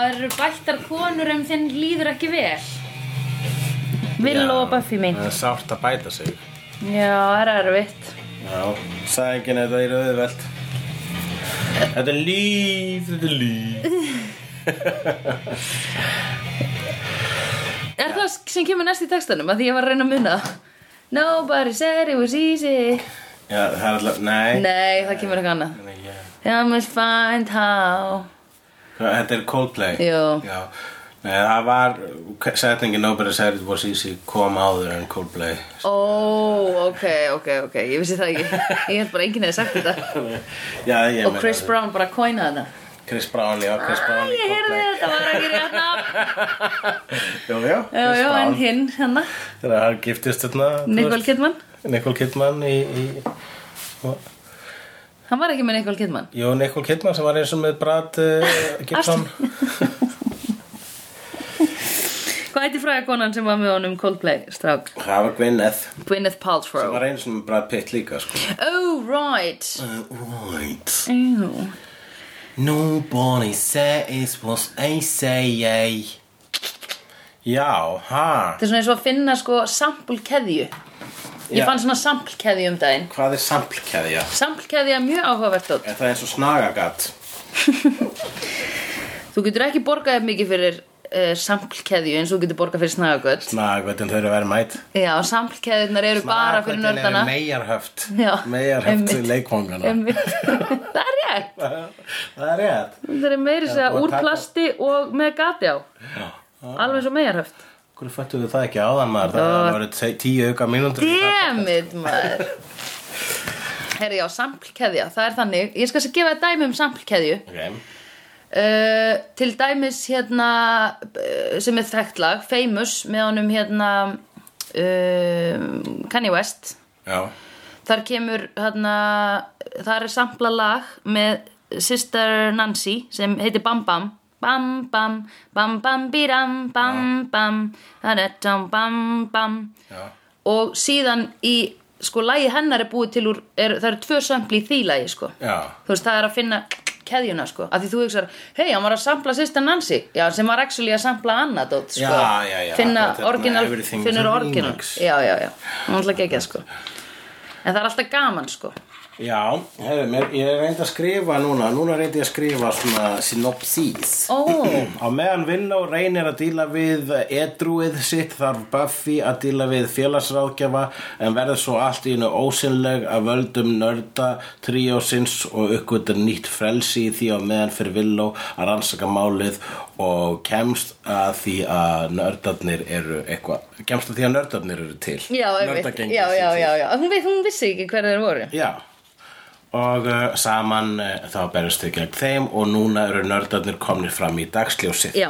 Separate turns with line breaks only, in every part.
ættar konur en þinn líður ekki vel Vill og Buffy mín
Það er sárt að bæta sig
Já, það er erfitt
Já, sagði ekki neitt að það er auðvelt Þetta er líf, þetta er líf
Er það sem kemur næst í textanum að því ég var að reyna að muna það? Nobody said it was easy
Já, það er alltaf, nei,
Nei, það kemur eitthvað annað
nei. já.
I must find how
Hvað, Þetta er Coldplay
Jú.
Já, nei, það var setningin Nobody said it was easy kom áður en Coldplay
Ó, ok, Oh, ok, ok, ég vissi það ekki Ég held bara enginn hefði sagt þetta
Já, ég
Og Chris Brown bara coinaði þetta
Chris Brown, já, Chris
Æ,
Brown í
ég heyrði
Coldplay.
þetta, var ekki rétt nafn
Jú, já,
Já, já,
Chris
en
Brown
hinn, hérna,
Þegar hann giftist þarna þú
Nicole
veist,
Kidman
Nicole Kidman í, í
Hann var ekki með Nicole Kidman
Jú, Nicole Kidman sem var eins og með Brad uh, Gibson
Hvað heitir fræða konan sem var með honum Coldplay strák?
Það var Gwyneth
Gwyneth
Það
Paltrow
var eins og með Brad Pitt líka sko.
Oh, right
Right
Ew.
Nobody says what I say Já, ha
Þetta er svona eins og að finna sko sampulkeðju Ég
Já.
fann svona sampulkeðju um daginn
Hvað er samplkeðja?
Sampulkeðja er mjög áhugavert þótt
Er það eins og snagagat?
Þú getur ekki borgað jafn mikið fyrir uh, samplkeðju eins og þú getur borgað fyrir snagagöld
Snagagatinn þau eru verið mætt
Já, samplkeðjurnar eru bara fyrir nördana
Megarhöft
Já,
Megarhöft
einmitt.
leikvangana
Einmitt. Það er rétt
Það er rétt
Það er meiri
Já,
segja
og
úr
taka-
plasti og með gati á
Já
Alveg svo megarhöft
Hverju fættu þau það ekki áðan maður?
Já.
Það voru te- tíu auka mínútur í það.
Demit maður Herri, já, samplkeðja, það er þannig Ég skal sér gefa þér dæmi um samplkeðju
Ok,
uh, Til dæmis hérna uh, sem er þekkt lag, Famous með honum hérna uh, Kanye West
já
Þar kemur hérna, þar er sampla lag með Sister Nancy sem heitir Bam Bam Bam Bam, Bam Bam Bíram Bam Bam, Hanettam Bam Bam
Já.
og síðan í sko lagi hennar er búið til úr, er, það eru tvö sampli í því lagi sko
Já.
þú veist það er að finna keðjuna sko, af því þú hugsar hei, hann var að sampla Sister Nancy, já sem var actually að sampla annað dót sko
Já, já, já,
finna
akkurat, hérna,
orginal,
everything's
finnur
a
orginal
remix.
já, já, já, hann ætla ekki ekki sko En það er alltaf gaman sko
Já, hefur, mér, ég reyndi að skrifa núna, núna reyndi ég að skrifa svona synopsis.
Ó,
Á meðan Villó reynir að díla við edrúið sitt þarf Buffy að díla við félagsráðgjafa en verður svo allt í hennu ósynleg að völdum nörda tríósins og uppgötur nýtt frelsi í því á meðan fyrir Villó að rannsaka málið og kemst að því að nördarnir eru eitthvað, kemst að því að nördarnir eru til.
já, einmitt
Nördagengið
Já,
sé
já,
til.
já, já, hún, veit, hún vissi ekki hverju þeir voru
Já og uh, saman uh, þá berjast þau gegn þeim og núna eru nördarnir komnir fram í dagsljósið
Já,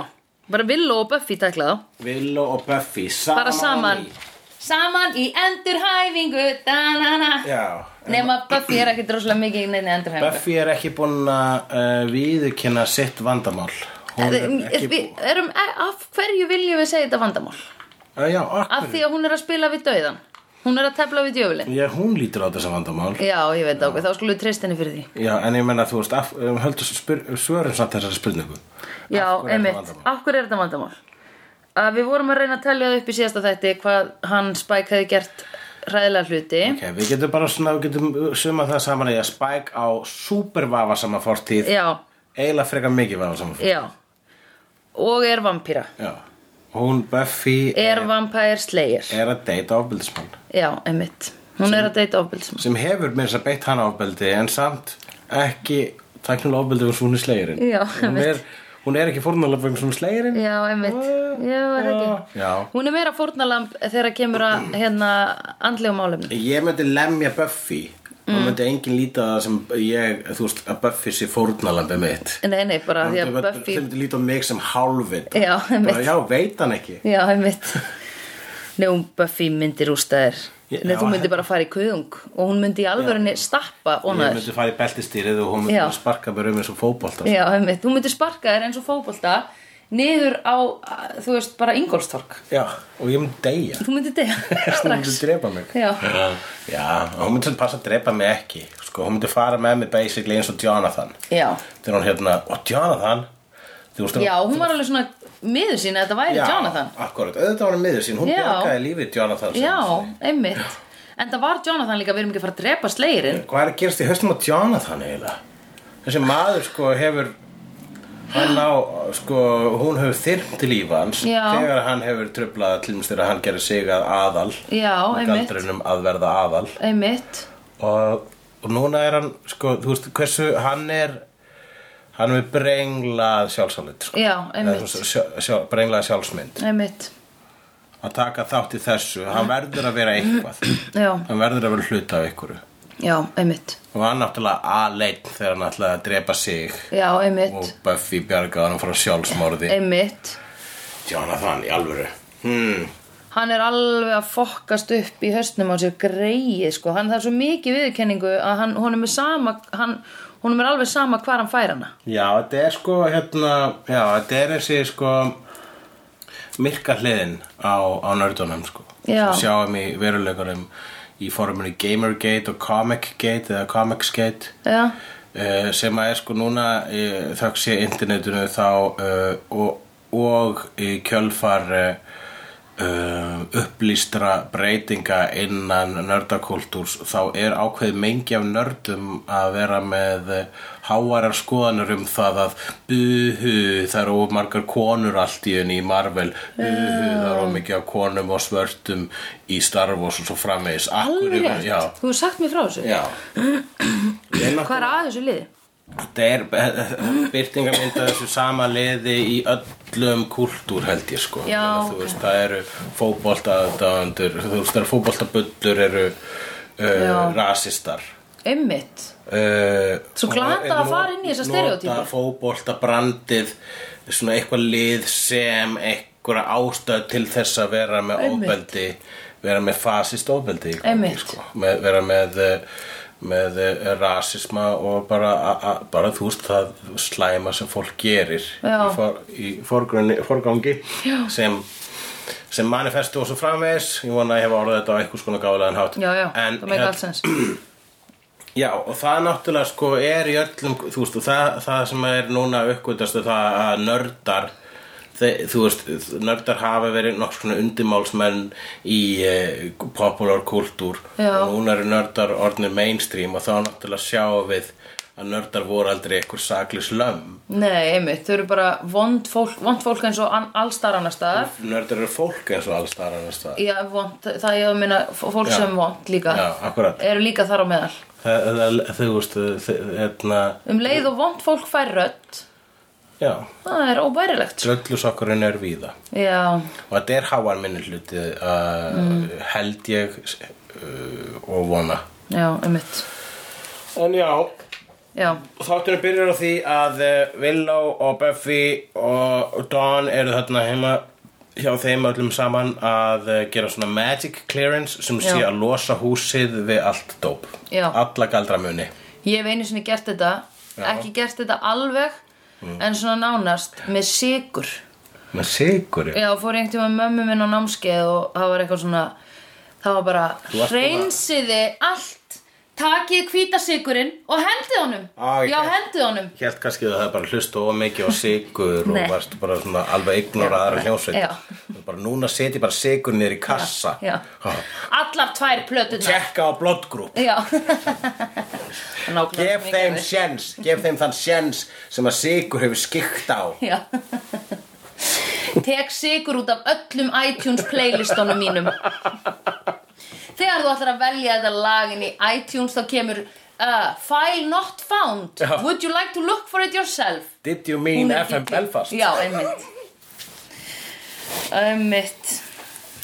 bara Villó og Buffy taklaði þá
Villó og Buffy saman
Bara saman Saman í endurhæfingu da-na-na
Já, en
Nema Buffy er ekkert rosalega mikið í neina endurhæfingu
Buffy er ekki búin að uh, viðurkynna sitt vandamál Hún er
Við
ekki búin
við erum, e, af hverju viljum við segja þetta vandamál?
Uh, Já,
Af
okkur
því að hún er að spila við dauðan Hún er að tefla við djöfulinn
Já, hún lítur á þessa vandamál
Já, ég veit ákveð, þá skulum við treyst henni fyrir því
Já, en ég menna þú veist, af, um, höldu spyr, svörum samt þessari spurningu
Já,
Af hverju er
einmitt,
þetta vandamál?
af hverju er þetta vandamál? Að við vorum að reyna að telja það upp í síðasta þætti hvað hann Spike hefði gert ræðilega hluti
Ok, við getum bara svona, við getum suma það saman í að Spike á supervafasama fortíð
Já,
Eila frekar mikið vafasama fortíð
já Og er vampíra
Já, hún Buffy er,
Er vampire slayer
er að deyta ofbeldismann
Já, einmitt Hún er að deyta ofbeldismann
sem hefur með þess að beitt hann ofbeldi en samt ekki tæknilega ofbeldi fyrir svona slegirinn
Já,
hún er, hún er ekki fórnulega fyrir svona slegirinn
Já, einmitt Já, er ekki
Já
Hún er meira fórnalamb þegar kemur að hérna andlegum álefni
Ég myndi lemja Buffy
Mm.
og myndi engin líta á það sem ég, þú veist, að Buffy sé fórnalambið mitt
Nei, nei, bara því
Þau
að
myndi-
Buffy
þau myndi líta á mig sem hálfvit
Já, einmitt.
Já, veit hann ekki
Já, einmitt Nei, hún Buffy myndi rústa þér
Ég-
Nei,
já,
þú myndi
hérna.
bara fara í kuðung og hún myndi í alvörunni stappa
Ég
onar
myndi fara í beltistýrið og hún myndi
Já.
sparka mér um eins og fótbolta
Já, einmitt, hún myndi sparka þér eins og fótbolta niður á, að- þú veist, bara Ingolstork
Já, og ég myndi deyja
Þú myndi dega
Hún
strax
myndi drepa mig
Já.
Já, hún myndi passa að drepa mig ekki sko, Hún myndi fara með mig basically eins og Jonathan
Já,
Þegar hún hérna, og Jonathan Þú veist,
Já, hún var alveg svona miður sín að þetta væri
Já,
Jonathan.
Akkurat, auðvitað var hann miður sín, hún
Já.
bjargaði lífið Jonathan sem
Já,
hann segir.
einmitt. En það var Jonathan líka, við erum ekki að fara að drepa slegirinn.
Hvað er að gerast í höstum á Jonathan eiginlega? Þessi maður sko hefur hann á, sko, hún hefur þyrmt til lífa hans
Já.
þegar hann hefur tröflað til dæmis þegar hann gerir sig að aðal
Já, einmitt.
galdrinum að verða aðal
Einmitt.
og, og núna er hann sko, þú veist, hversu hann er hann er með brenglað sjálfsálit sko.
Já,
Eða,
einmitt.
þú veist, sjá- sjá- brenglað sjálfsmynd
Einmitt.
að taka þátt í þessu, hann verður að vera eitthvað
Já,
hann verður að vera hluta af einhverju
já, einmitt.
og hann náttúrulega aðleitt þegar hann ætlaði að drepa sig
Já,
og
einmitt.
Buffy bjargaði hann frá sjálfsmorði
Einmitt.
Jonathan í alvöru hmm.
Hann er alveg að fokkast upp í höstnum á sér greið, sko. Hann það er svo mikið viðurkenningu að hann, honum er sama, hann, honum er alveg sama hvar hann fær hana.
Já, þetta er sko hérna, já, þetta er þessi sko myrka hliðin á, á nördunum sko
Já.
sem sjáum í veruleikunum í forminu Gamergate og Comicgate eða Comicsgate
Já,
uh, sem að er sko núna uh, þakks ég internetinu þá uh, og, og í kjölfar uh, uh, upplýstra breytinga innan nördakultúrs þá er ákveð mengi af nördum að vera með eh, háværar skoðanur um það að buhu, það eru of margar konur allt í henni í Marvel buhu, það eru of mikið af konum og svörtum í Star Wars og svo framvegis Af
alveg
hverju-
rétt.
Já,
Þú hefur sagt mér frá þessu.
já
Hvað er að þessu liði?
Þetta er byrtingamynda þessu sama liði í öllum kultúr held ég sko
Já,
Meina, þú veist, það eru fótbolta þú veist, það eru fótboltabullur eru uh,
Já.
rasistar
Einmitt.
uh,
Svo glatað að fara inn í þessa stereótypur.
Nota fótboltabrandið svona eitthvað lið sem einhverja ástöð til þess að vera með
Einmitt.
ofbeldi vera með fasist ofbeldi í gangi,
Einmitt.
sko. með, vera með eh, með eh, rasisma og bara, a- a- bara þú veist það slæma sem fólk gerir
Já.
í, for, í forgrunni, forgangi Já. sem sem manifestu og svo framvegis ég vona að ég hef orðið þetta á einhvers konar gáðlegan hátt
Já, já,
en, hérna,
það meikar alls sens.
Já, og það náttúrulega sko er í öllum, þú veist, og það, það sem er núna uppgötast er það að nördar, þe, þú veist, nördar hafa verið nokks svona undimálsmenn í eh, popular kultúr
Já.
og núna eru nördar orðnir mainstream og þá náttúrulega sjáum við að nördar voru aldrei einhver saklis lömm.
Nei, einmitt, þau eru bara vond fólk, vond fólk eins og an- alls allstar annar staðar
Nördar eru fólk eins og alls þar annars það.
Já, vond, það ég að minna fólk
Já.
sem vond líka
Já, akkurat.
Eru líka þar á meðal
Það, það, þú veist, þe- hérna,
Um leið og vond fólk fær rödd
já,
Það er óbærilegt sko.
dröllusokkurinn er víða.
Já,
og þetta er háan minni hluti uh, held ég uh, og vona
já, einmitt
en já
Já,
þáttunum byrjar á því að eh, Willow og Buffy og Dawn eru þarna heima hjá þeim öllum saman að eh, gera svona magic clearance sem sé
Já.
að losa húsið við allt dóp
Já.
alla galdramuni
ég hef einu sinni gert þetta
Já. Mm.
Ekki gert þetta alveg En svona nánast með sigur
með sigur
Já, fór ég einhvern tímann með mömmu minn á námskeið og það var eitthvað svona það var bara,
varst búin að-
hreinsiði allt takið hvítasigurinn og hendið honum
Á, ég
Já,
hélt-
hendið honum
Helt kannski að það er bara hlustu of mikið á sigur
Nei.
og varst bara svona alveg ignorað aðra
Já.
hljósveit bara núna setjum bara sigur niður í kassa Ah.
Já.
Ha.
Allar tvær plöturnar
tjekka á blood group
Já
gef
Nákvæmlega
þeim
mikið.
sjens gef þeim þann sjens sem að sigur hefur skikt á
Já Tek sigur út af öllum iTunes playlistunum mínum Þegar þú ætlar að velja þetta lagin í iTunes þá kemur uh, File not found
Já.
Would you like to look for it yourself?
did you mean
Hún er
FM
ekki-
Belfast
Já, einmitt Einmitt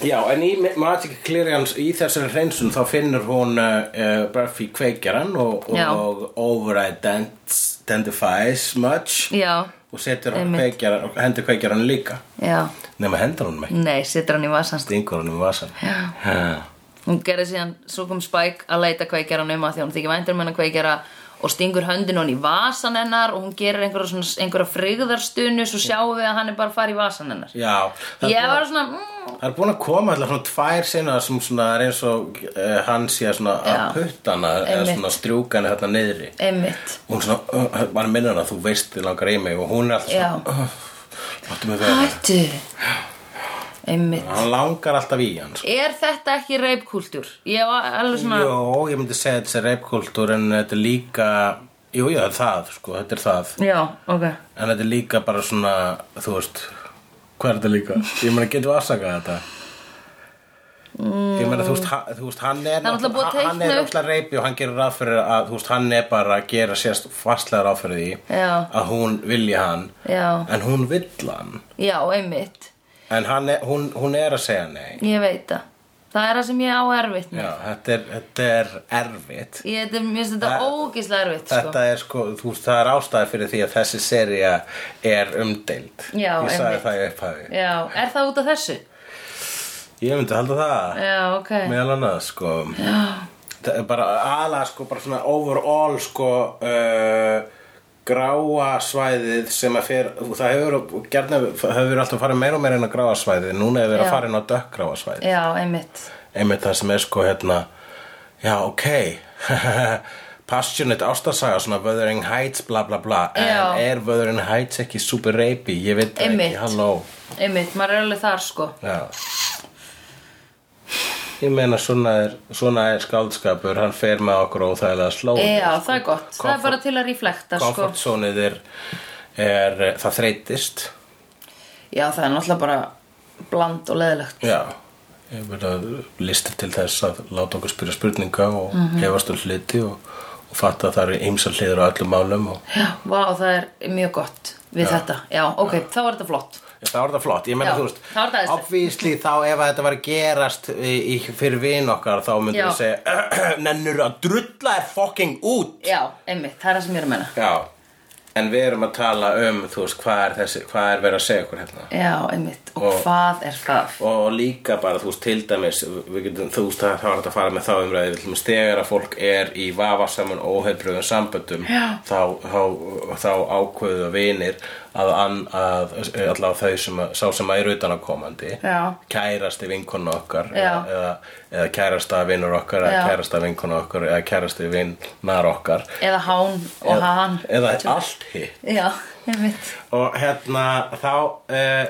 Já, en í Magic Clearance í þessari hreinsun þá finnur hún uh, uh, Buffy kveikjaran og,
Já.
og overidentifies much
Já,
og setur hann
Einmitt.
kveikjaran og hendur kveikjaran líka
já
nema hendur hún með
Nei, situr hann í vasans
stingur hún um vasan
Já.
Ha.
Hún gerði síðan, svo kom Spike að leita kveikjaran um að því að hún þykir væntur með hann kveikjara og stingur höndin hann í vasan hennar og hún gerir einhverja, svona, einhverja frigðarstunni svo sjáum við að hann er bara að fara í vasan hennar
Já, það
Ég var svona, mm,
Það er búin að koma alltaf svona tvær sinna sem svona er eins og uh, hann sé svona
Já.
að puttana eða
Einmitt.
svona strjúkana hérna niðri
einmitt
hún svona, uh, bara minnur hana þú veist þið langar í mig og hún er alltaf
Já.
svona uh, láttu mig vera
Hættu einmitt
hann langar alltaf í hann sko.
Er þetta ekki reipkúltúr? Ég var alveg svona
Jó, ég myndi segja þetta er reipkultúr en þetta er líka jú, já, það, sko, þetta er það
Já, ok
en þetta er líka bara svona, þú veist hvað er þetta líka? Ég meina, getur við afsakað þetta? Ég meina, þú veist, hann, þú veist, hann er
Það er náttúrulega búið að
hann er
teikna upp-
náttúrulega reipi og hann gerir ráð fyrir að, þú veist, hann er bara að gera sérst fastlega ráð fyrir því
Já.
að hún vilja hann
Já,
en hún vill hann
já, einmitt
en hann er, hún, hún er að segja nei
Ég veit það Það er það sem ég á erfitt með
Já, þetta er, þetta er
Ég
erfitt
sko. þetta- mér finnst þetta
Það-
ógislega erfitt sko.
Þetta er sko, þú veist, það er ástæði fyrir því að þessi seria er umdeild
Já,
Ég sagði
einmitt.
það í upphafi
Já, er það út af þessu?
Ég myndi halda það
Já, ok
meðal annað sko það er bara ala sko bara svona overall sko uh, gráa svæðið sem að fer það hefur gerna, hefur alltaf farið meira og meira inn á gráa svæðið núna hefur verið
Já.
að fara inn á dökkgráa svæðið
Já, einmitt
einmitt það sem er sko hérna já ok passionate ástasaga svona Wuthering Heights bla bla bla
Já.
en er Wuthering Heights ekki super reipi ég veit það
Einmitt.
ekki, halló
Einmitt, maður er alveg þar sko
Já Ég meina svona er, svona er skáldskapur, hann fer með okkur óþægilega slóð
Já, það er gott Það er
Comfort-
bara til að reflekta sko
Komfortzónið er, er, eh, það þreytist
Já, það er náttúrulega bara bland og leðilegt
Já, ég verið að listir til þess að láta okkur spyrja spurninga og mm
Mhm.
-hmm. hefast um hluti og, og fatta að það eru ymsar hliður á öllum málum og
Já, vá, það er mjög gott við þetta Já, ok, þá er þetta flott
Það var þetta flott, ég meina
Já,
þú veist
það var þetta æðislegt.
Obvísli þá ef að þetta var að gerast í, í, fyrir vin okkar þá myndum
Já.
við segja Nennur að drulla er fucking út
Já, einmitt, það er það sem ég er að menna
Já, en við erum að tala um, þú veist, hvað er, þessi, hvað er verið að segja okkur hérna?
Já, einmitt, og,
Og-
hvað er það?
Og líka bara, þú veist, til dæmis, við getum, þú veist, það það var hægt að fara með þá umræði, við ætlum stegar að fólk er í vafasamun óheilbröðum samböndum,
Já.
þá, þá, þá ákveðu vinir að, an, að allavega þau sem, að- sá sem að er utanakomandi,
Já.
kærasti vinkonu okkar,
Já.
eða, eða kærasta vinnur okkar, eða
Já.
kærasta vinkonu okkar, eða kærasti vinnar okkar,
Eða hán og
eða,
hann
eða allt hitt.
Já, einmitt
og hérna þá uh,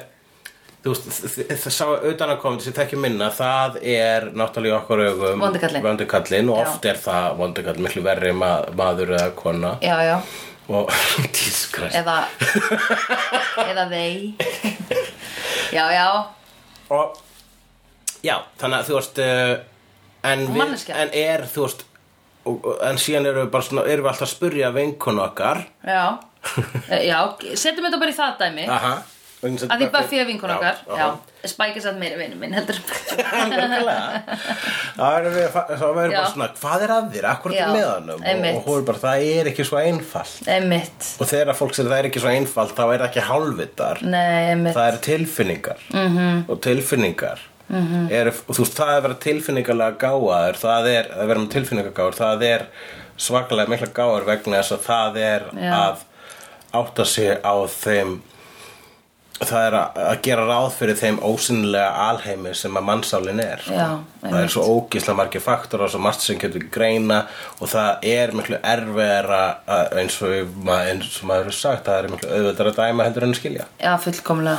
þú veist, þ- þ- sá utanakomandi sem þekki minna, það er náttúrulega í okkar augum
Vondi kallinn.
vondi kallinn og
Já.
oft er það vondukall miklu verri ma maður eða kona
Já, já,
og tískræst
eða eða þeir Já, já,
og já, þannig að þú veist uh, en,
Og
við,
manneskja.
en er þú veist og- og- en síðan erum við bara svona erum við alltaf að spurja vinkonu okkar
já Eh, Já, setjum þetta bara í það dæmi
aha
að því Buffy er vinkun okkar
já,
Já,
aha.
Spike er satt meiri vinur minn heldur
Nákvæmlega. Þá erum við þá verður
Já.
bara svona, hvað er að þér, akkur
Já,
er með hannum og,
einmitt.
og hún er bara, það er ekki svo einfalt
Einmitt
og þegar fólk sér það er ekki svo einfalt þá er það ekki hálfvitar
Nei, einmitt Mhm.
það eru tilfinningar -hmm. og tilfinningar mm -hmm. er, og þú veist, það er verið tilfinningarlega gáðar það er, að vera með tilfinningagáðar það er svakalega mikla gáðar vegna þess að það er
Já.
að átta sig á þeim það er að, að gera ráð fyrir þeim ósynlega alheimi sem að mannsálin er sko.
Já,
það er
einmitt.
svo ógisla margir faktora svo margt sem getur greina og það er miklu erfiðara að- eins og, ma- eins og maður hefur sagt það er miklu auðveldara að dæma heldur en að skilja
Já, fullkomlega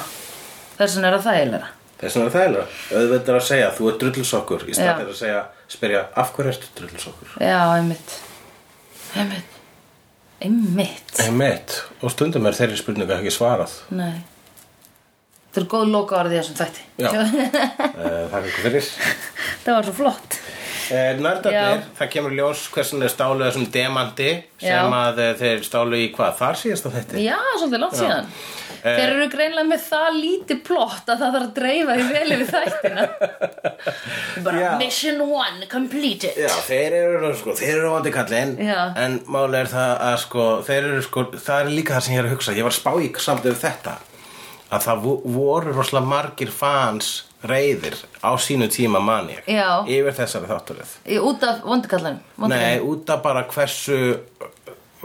Þess vegna er það þægilega
Þess vegna er það eiginlega auðveldara að segja þú er drullusokkur í
Já.
stað þess að segja spyrja af hverju ertu drullusokkur
Já, einmitt Einmitt Einmitt
Einmitt, og stundum er þeirri spurningu ekki svarað
Nei Það er góð loka orðið þessum þætti
Já, Eh, þakka ykkur fyrir
Það var svo flott
Eh, Nördarnir,
Já.
það kemur í ljós hversin er stálu þessum demandi
Já.
sem að eh, þeir stálu í hvað þar síðast á þetta
Já, svolítið langt síðan
Eh.
Þeir eru greinlega með það lítið plott að það þarf að dreifa því vel yfir þættina Bara
Já.
mission one completed
Já, þeir eru, sko, þeir eru vandi kallinn
Já.
En máli er það að sko, þeir eru sko, það er líka það sem ég er að hugsa Ég var að spá í samt yfir þetta Að það vo- voru rosalega margir fans reyðir á sínu tíma mani
Já.
Yfir þessari þátturöð
Í- Út af vondukallanum
Nei, út af bara hversu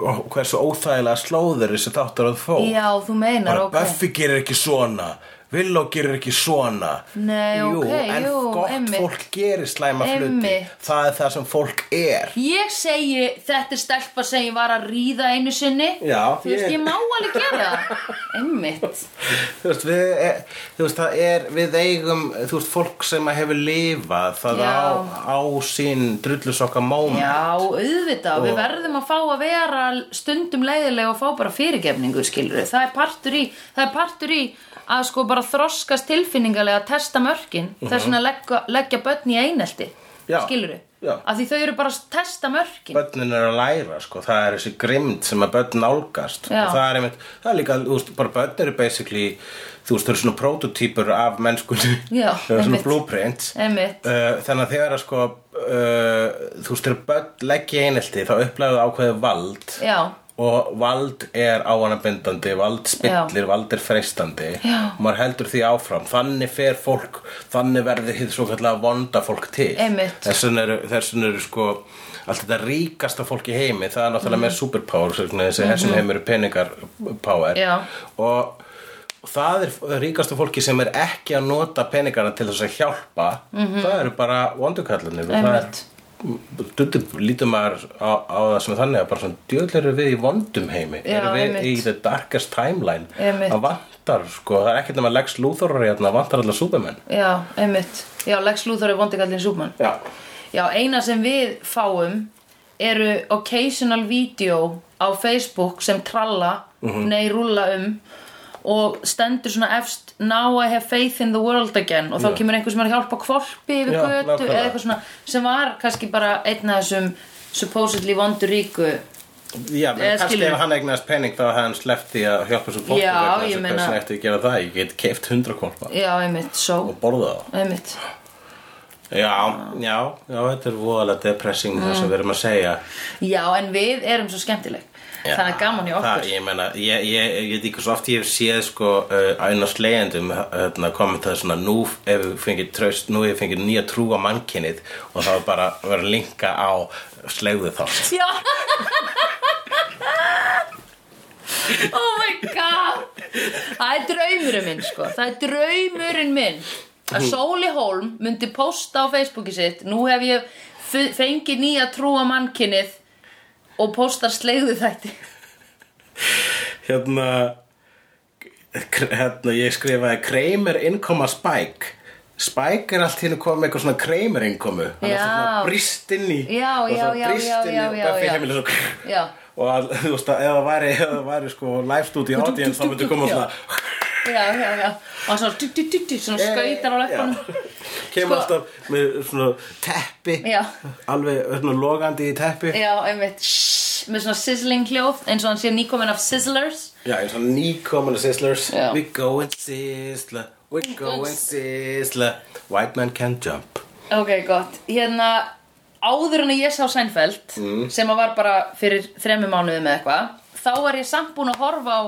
hversu óþægilega slóður þessi þátturöð fó
Já, þú meinar,
Bara
ok
Buffy gerir ekki svona Villó gerir ekki svona
Nei,
jú,
ok,
en
jú,
gott
einmitt.
fólk gerir slæma hluti
Einmitt.
það er það sem fólk er
Ég segi þetta er stelpa sem ég var að ríða einu sinni
Já,
Þú veist,
ég-
ég má alveg gera það Einmitt
þú veist, við, e, þú veist, það er við eigum, þú veist, fólk sem að hefur lifað það
Já.
á, á sín drullusokka móma
Já, auðvitað, við verðum að fá að vera stundum leiðilega og fá bara fyrirgefningu, skilur við. Það er partur í, það er partur í að sko bara þroskast tilfinningalega að testa mörkin, þess vegna leggja, leggja börn í einelti,
Mhm. Já.
skilur við.
Já.
Af því þau eru bara að testa mörkin.
börnin er að læra sko, það er þessi grimd sem að börn nálgast
Já.
og það er einmitt, það er líka, þú veist, bara börn eru basically, þú veist, þau eru svona prototýpur af mennskunni,
Já,
þau eru svona
einmitt.
blueprints
Einmitt.
Uh, þannig að þegar að sko uh, þú veist, þegar börn leggja einelti þá upplæðu ákveðið vald
Já,
og vald er áanabindandi vald spillir, vald er freistandi
Já.
og maður heldur því áfram þannig fer fólk, þannig verður hitt svo kallega vonda fólk til Eh,
Einmitt.
þessun eru, þessun eru sko allt þetta ríkasta fólk í heimi það er
Mhm.
náttúrulega með superpower svo svona þessi þessum heimi eru peningar power
Já.
og og það er ríkasta fólki sem er ekki að nota peningana til þess að hjálpa það eru bara vondukallunir og það er
Mhm. Einmitt.
Dundum lítur maður á, á það sem þannig að bara svona djöðl eru við í vondum heimi
Já,
eru við
einmitt.
í the darkest timeline
Einmitt.
það vantar sko, það er ekkert nema Lex Luthor er hérna, það vantar allar Superman
já, einmitt. Já, Lex Luthor er vondikallin súpmann.
Já,
Já, eina sem við fáum eru occasional video á Facebook sem tralla,
Mhm.
nei rúlla um og stendur svona efst now I have faith in the world again og þá kemur einhver sem er að hjálpa kvolpi yfir
Já,
götu
nákvæmlega.
eða eitthvað svona sem var kannski bara einn af þessum supposedly vondur ríku
já menn
Eða
kannski
skilur.
ef hann eignast pening þá hefði hann sleppt því að hjálpa svo fólk
Já,
vegna þess
ég
að
meina-
hversu eftir að gera það, ég get keift hundra kolpa
já, einmitt, so,
og borða það
einmitt
Já, já, já, þetta er voðalega depressing það
Mm.
sem við erum að segja
já, en við erum svo skemmtileg
Já,
þannig að gaman í okkur
það, ég meina, ég, ég, ég veit ekki svo oft ég hef séð sko uh, æna slegjandum hérna, kommentaði svona nú ef við fengið tröst, nú ef við fengið nýja trú á mannkinnið og það var bara verið að linka á slegðu þátt
Já Oh my god Það er draumurinn minn sko Það er draumurinn minn að Sóli Hólm myndi posta á Facebooki sitt Nú hef ég fe- fengið nýja trú á mannkinnið og postar slegðu þætti
Hérna, kr- hérna ég skrifaði Kramer innkoma Spike Spike er allt hérna komið með eitthvað svona Kramer innkomu hann er
Já.
svona brist inn í
Já,
og
já,
svona
já,
brýst
já,
inn í
já,
og
já,
Buffy
já.
heimilið svo
Já,
og að, þú veist að ef það væri, ef það væri sko live studio audience þá myndi koma svona
já, já, já Og svona, du, du, du, du, svona
Eh,
skautar á löpunum Sko-
kemur alltaf með svona teppi
Já.
alveg svona logandi í teppi
Já, einmitt shhh, Með svona sizzling hljóð eins og hann sé nýkominn af Sizzlers
já, eins og nýkomin að sizzlers
Já.
we go and sizzla we go and sizzla white man can jump
Ok, gott. Hérna, áður en að ég sá Seinfeld,
Mm.
sem að var bara fyrir þremmu mánuðum eða eitthvað, þá var ég samt búin að horfa á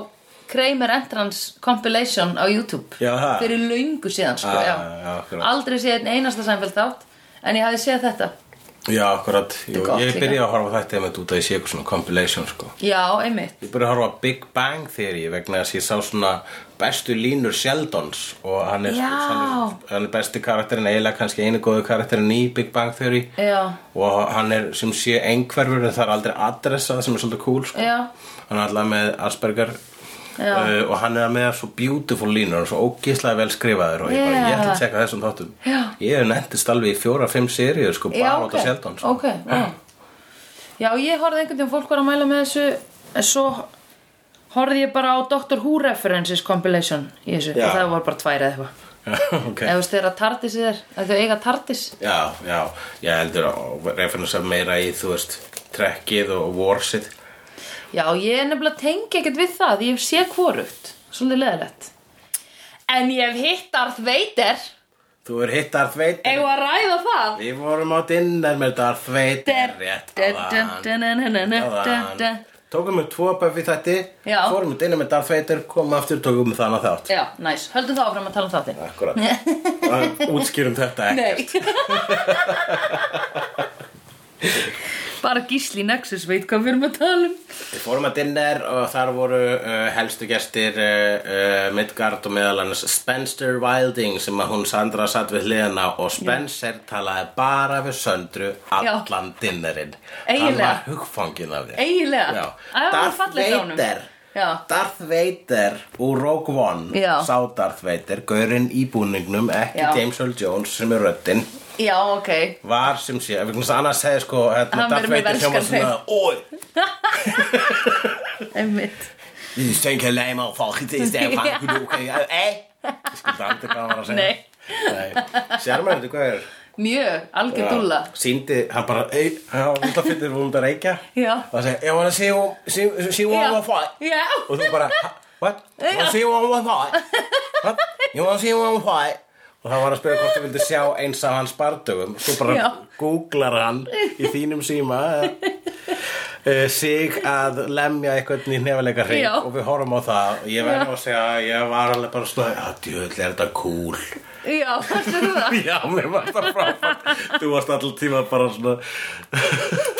Kramer Entrance compilation á YouTube.
Já, það.
Fyrir löngu síðan, sko,
Ah,
já.
já, akkurat.
Aldrei séð einn einasta Seinfeld þátt, en ég hafði séð þetta.
já, akkurat,
er
Jú,
gott
ég
líka.
byrja að horfa á þetta einmitt út að ég sé eitthvað svona compilation sko
Já, einmitt.
Ég byrja að horfa á Big Bang Theory vegna þess að ég sá svona bestu línur Sheldons og hann er,
Já.
hann er, hann er besti karakterinn eiginlega kannski einu góðu karakterinn í Big Bang Theory
Já.
og hann er sem sé einhverfur en það er aldrei adressað sem er svolítið cool sko.
Já.
hann er alltaf með Asperger
Já.
uh, og hann er með svo beautiful línur og svo ógislega vel skrifaður og ég, bara,
Já.
ég ætla að tjekka þessum þáttum
Já.
ég hef nendist alveg í fjóra-fimm seríu sko, bara
já,
út af Sheldon sko.
Ok, já. Já, ég horfði einhvern veginn fólk var að mæla með þessu, en svo horfði ég bara á Doctor Who References compilation í þessu,
Já.
og það var bara tvær eða eitthvað.
okay.
eða þú veist þeirra tardis er að þau eiga tardis
Já, já, ég heldur að referensa meira í, þú veist, trekkið og vorsið.
já ég er nefnilega tengi ekkert við það því ég sé hvorugt, svolítið leðilegt en ég hef hitt Darth Vader
Þú er hitt Darth Vader.
eigum að ræða það
Við vorum á dinnar með Darth Vader rétt áðan. áðan.
já,
Tókum við tvo Buffy þætti,
Já.
fórum við dinnar með Darth Vader, komum aftur, tókum við þannig þátt.
næs, höldum það áfram að tala um þáttinn
Akkurat. Það útskýrum þetta ekki.
nei bara gísli nexus veit hvað við erum að tala um
fórum að dinner og þar voru uh, helstu gestir uh, uh, Midgard og meðal hans Spencer Wilding sem að hún Sandra satt við hliðina og Spencer talaði bara við Söndru allan dinnerinn Hann
Eiginlega.
var hugfangin af þér
Eiginlega.
Já.
Æ, það var
Darth
fallegt á honum.
Vader
Já.
Darth Vader úr Rogue One
Já.
sá Darth Vader, gaurinn í búningnum ekki
Já.
James Earl Jones sem er röddinn
Já, ok.
var sem sé, ef einhvern veginn annars segja sko hérna,
Hann
Darth
verður með
Vader sem var
velskan
svona oi,
Einmitt.
ég stengja leima og fólkið í stefn
Já.
hann glúka, ei ég skildi aldrei hvað hann var að segja
Nei.
Nei. sérmæður, hvað er
Mjög, algjör dúlla.
síndi, hann bara ei, hann var alltaf fyrir hún að reykja
Já.
og það segja, ég var að sé hún see, see
Já.
one more fight
Já.
og þú bara, "Ha, what? ég var
Já.
að sé hún one more fight What? ég var að sé hún one more fight og hann var að spyrja hvort þú vildi sjá eins af hans bardögum svo bara
Já.
googlar hann í þínum síma eh, sig að lemja eitthvað í nefnilega hring
Já.
og við horfum á það og ég verður að segja að ég var alveg bara svona að djöðl er þetta cool
Já, fannstu þú það?
já, mér var það frábært þú varst alltaf tíma bara svona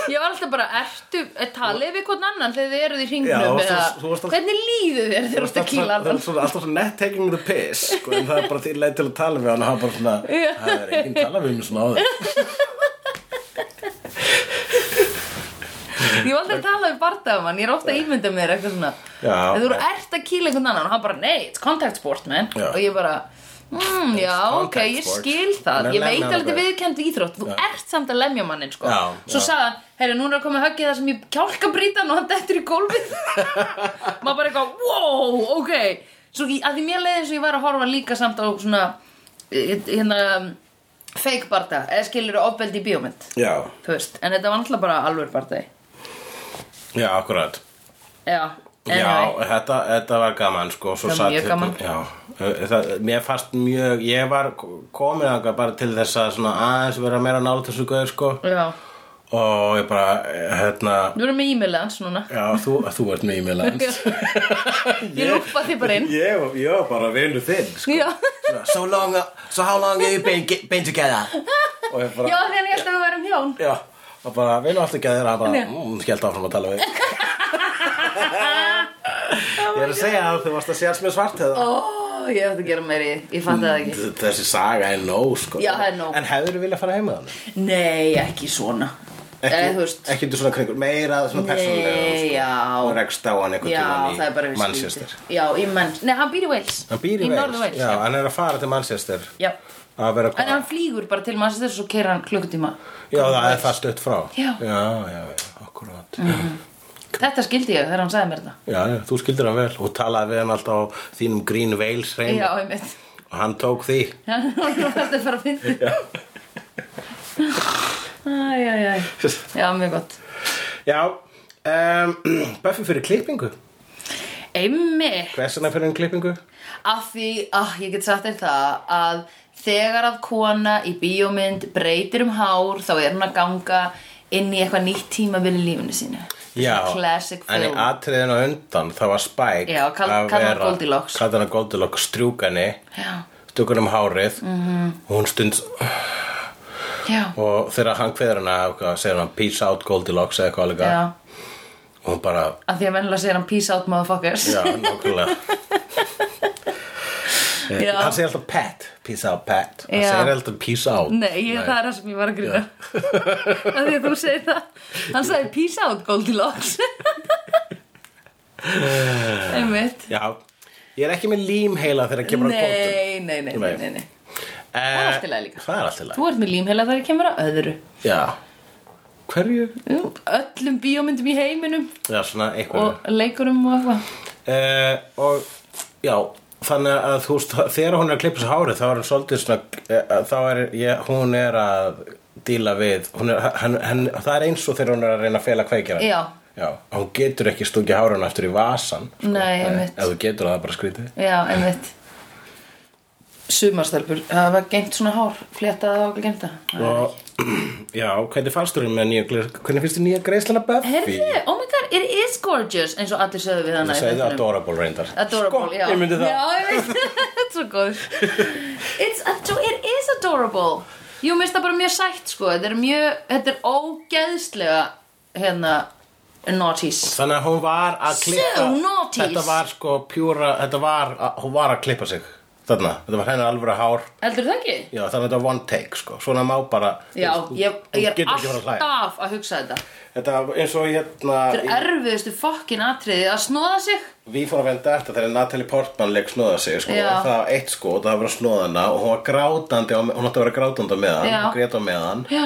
Ég var alltaf bara, ertu, er talið við hvern annan þegar þið eruð í
Já,
hringnum
þú-
eða,
þú varst alltaf-
hvernig líður þér þegar þú ert að kýla
það er
annan?
svona, alltaf svona net taking the piss sko, en það er bara til leið til að tala við hann og hann bara svona, það er enginn tala við mig svona á þig
Ég var aldrei að tala við bardagumann, ég er ofta að ímynda mér eitthvað svona Þegar
Já.
þú eru ert að kýla einhvern annan og hann bara, nei, it's contact sport, man
Já.
Og ég bara, mm, já, ok,
contact
ég
sport.
skil það
Nei,
Ég
nei,
veit
nei,
alveg þetta
nei.
viðkend íþrótt, þú ert samt að lemja manninn, sko
Já,
Svo
já.
sagði hann, herri, núna er að koma höggið þar sem ég kjálka brítan og hann dettur í gólfið Maður bara eitthvað, wow, ok Svo ég- að því mér leiði eins og ég var að horfa líka samt á svona, eh, hérna, fake barda Eða skilur ofbeldi í bíómynd,
já,
þú veist En þetta var alltaf bara alveg bardagi
já, akkurat
Já,
Já,
anyway.
þetta, þetta var gaman sko, svo
Það var
satt
mjög gaman.
já, það, Mér fannst mjög Ég var komið þangað bara til þess að svona, aðeins vera meira nála þessu gauð sko,
já. já.
og ég bara hérna,
Við erum með e-mailið hans núna.
já, þú, þú ert með e-mail hans
Ég rúpa þig bara inn.
Ég, ég var bara vinur þinn sko.
Já,
Svona, so, long, uh, so how long have you been, been together? Og ég bara
já þegar ég held að við værum hjón.
Já, og bara, við erum alltaf ekki að þeirra bara,
Nei.
mm, skellt áfram að tala við Ég er að segja að þú varst að séast með svart
Ó, ég ætti að gera meiri, ég fatt það ekki.
Þessi saga er nóg, sko
Já, það er nóg.
En hefur þú viljað fara heim með hann?
Mm. Nei, ekki svona.
Ekki,
Eða, Eh, þú veist,
ekki undir svona kringur, meira svona persónulega
Nei,
sko.
já.
Og rekst á hann einhvern
já, það er bara
tímann í
við
Manchester
Já, í Manchester. Nei, hann býr í Wales.
Hann býr í
norður
Wales,
Wales.
já, hann er að fara til Manchester
Já.
Að vera
En hann flýgur bara til Manchester og svo keir hann klukkutíma.
Já, það er það stutt frá
Já. Mhm.
já, já, akkurat
Þetta skildi ég þegar hann sagði mér þetta.
Já, já, þú skildir hann vel og talaði við hann alltaf á þínum Green Wales reyni
Já, ég veit.
og hann tók því
Hann var alltaf að fara að finna. Æ, æ, æ. Já, mjög gott.
Já, um, Buffy fyrir klippingu
Einmitt.
Hversina fyrir en klippingu?
Af því, ah, ég get sagt þér það að þegar að kona í bíómynd breytir um hár þá er hún að ganga inn í eitthvað nýtt tímabil í lífinu sínu. Svona Classic
En í
film.
atriðin á undan það var Spike
Já, kall-
að
kallar hann
vera-
Goldilocks.
Kallar hann Goldilocks strjúkani
Já,
Stjúkanum hárið mm
Mhm.
-hmm. Hún stund
já,
Og þegar hann kveður hana hvað Segir hann peace out Goldilocks eða eitthvað líka
já.
Og hún bara
Af því að vennilega segir hann peace out motherfuckers.
Já,
Já.
nokkulega Eh, Hann segir alltaf Pat Peace out Pat Hann
Já.
segir alltaf peace out
Nei, ég, það er það sem ég var að grýna. Af því að þú segir það. Hann sagði peace out Goldilocks. Einmitt.
Já, ég er ekki með límheila þegar kemur að kóttum
Nei, nei, nei, nei, nei, nei.
Það
er allt í lagi líka.
Eh, Það er allt í lagi.
Þú ert með límheila þar ég kemur að öðru.
Já Hverju?
öllum bíómyndum í heiminum
Já, svona eitthvað og,
og leikurum og eitthvað
og já, þannig að þú veist þegar hún er að klippa sér hárið þá er hún svolítið svona eh, þá er, ég, hún er að díla við hún er, hann, hann, það er eins og þegar hún er að reyna að fela kveikjara
Já.
Já, hún getur ekki stungið hárun aftur í vasan
Nei, einmitt.
Ef þú getur það er bara skrítið
Já, einmitt Sumarstelpur, það var geimt svona hár fléttað og geimta
og, Já, hvernig fannst þú með nýja gleð- hvernig finnst þér nýja greiðslana Buffy?
Herðu, oh my god, it is gorgeous eins og allir sögðu við hana
Það
í
segði
þættinum.
adorable reyndar
Adorable,
sko,
já
Ég myndi það
Já, ég veit, þetta er svo góð It's ado It is adorable Jú, mér finnst það bara mjög sætt, sko Þetta er mjög, þetta er ógeðslega hérna, naughties
Þannig að hún var að
So
klippa
naughty.
Þetta var sko pjúra Þetta var, að, hún var að klippa sig Þarna, þetta var henni alveg hár
Heldur það ekki?
Já, þannig að þetta var one take sko Svona má bara
Já,
þú-
ég,
þú
ég er
getur ekki verið að hlæja.
alltaf að hugsa þetta
Þetta var eins og hérna
Þetta er erfiðustu fokkin atriði að snóða sig
Við fórum að venda þetta þegar Natalie Portman leik snóða sig sko,
Já.
og það var eitt sko og það var að snóða hana og hún var grátandi á, hún átti að vera grátandi á meðan
Já.
hún grét á meðan
Já.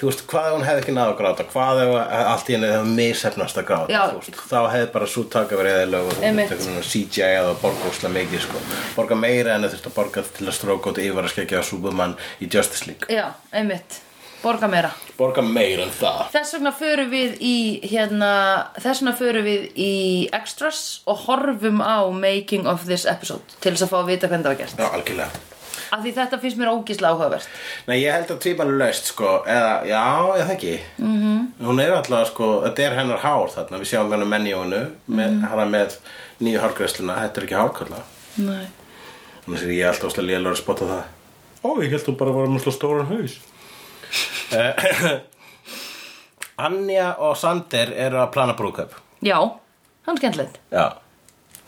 þú veist, hvað ef hún hefði ekki náð að gráta hvað ef að- allt í henni hefði mishefnast að gráta
Já.
þú veist, þá hefði bara svo taka verið eðileg og þú
Einmitt.
veist, einhvern veginn CGI eða borgókslega mikið sko. borga meira en þau þurft að borga til að stróka út yfir að skekja á Superman í Justice League
Já, einmitt, borga meira
borga meira en það
Þess vegna förum við í hérna, þess vegna förum við í extras og horfum á making of this episode til þess að fá að vita hvernig það var gert
Já, algjörlega
af því þetta finnst mér ógislega áhugavert
Nei, ég held að tvíbælu laust, sko, eða, já, ég þekki. Mm
Mhm.
-hmm. Hún er alltaf, sko, þetta er hennar hár þarna, við sjáum hennar menn í honu, með,
Mhm.
hana með nýju hárgræsluna, þetta er ekki hárkalla.
Nei.
Þannig að ég er alltaf óslega lélega að spotta það. Ó, ég held þú bara var mjög stóran haus. Eh, Anja og Sander eru að plana brúköp.
Já, hann er skemmtilegt
Já.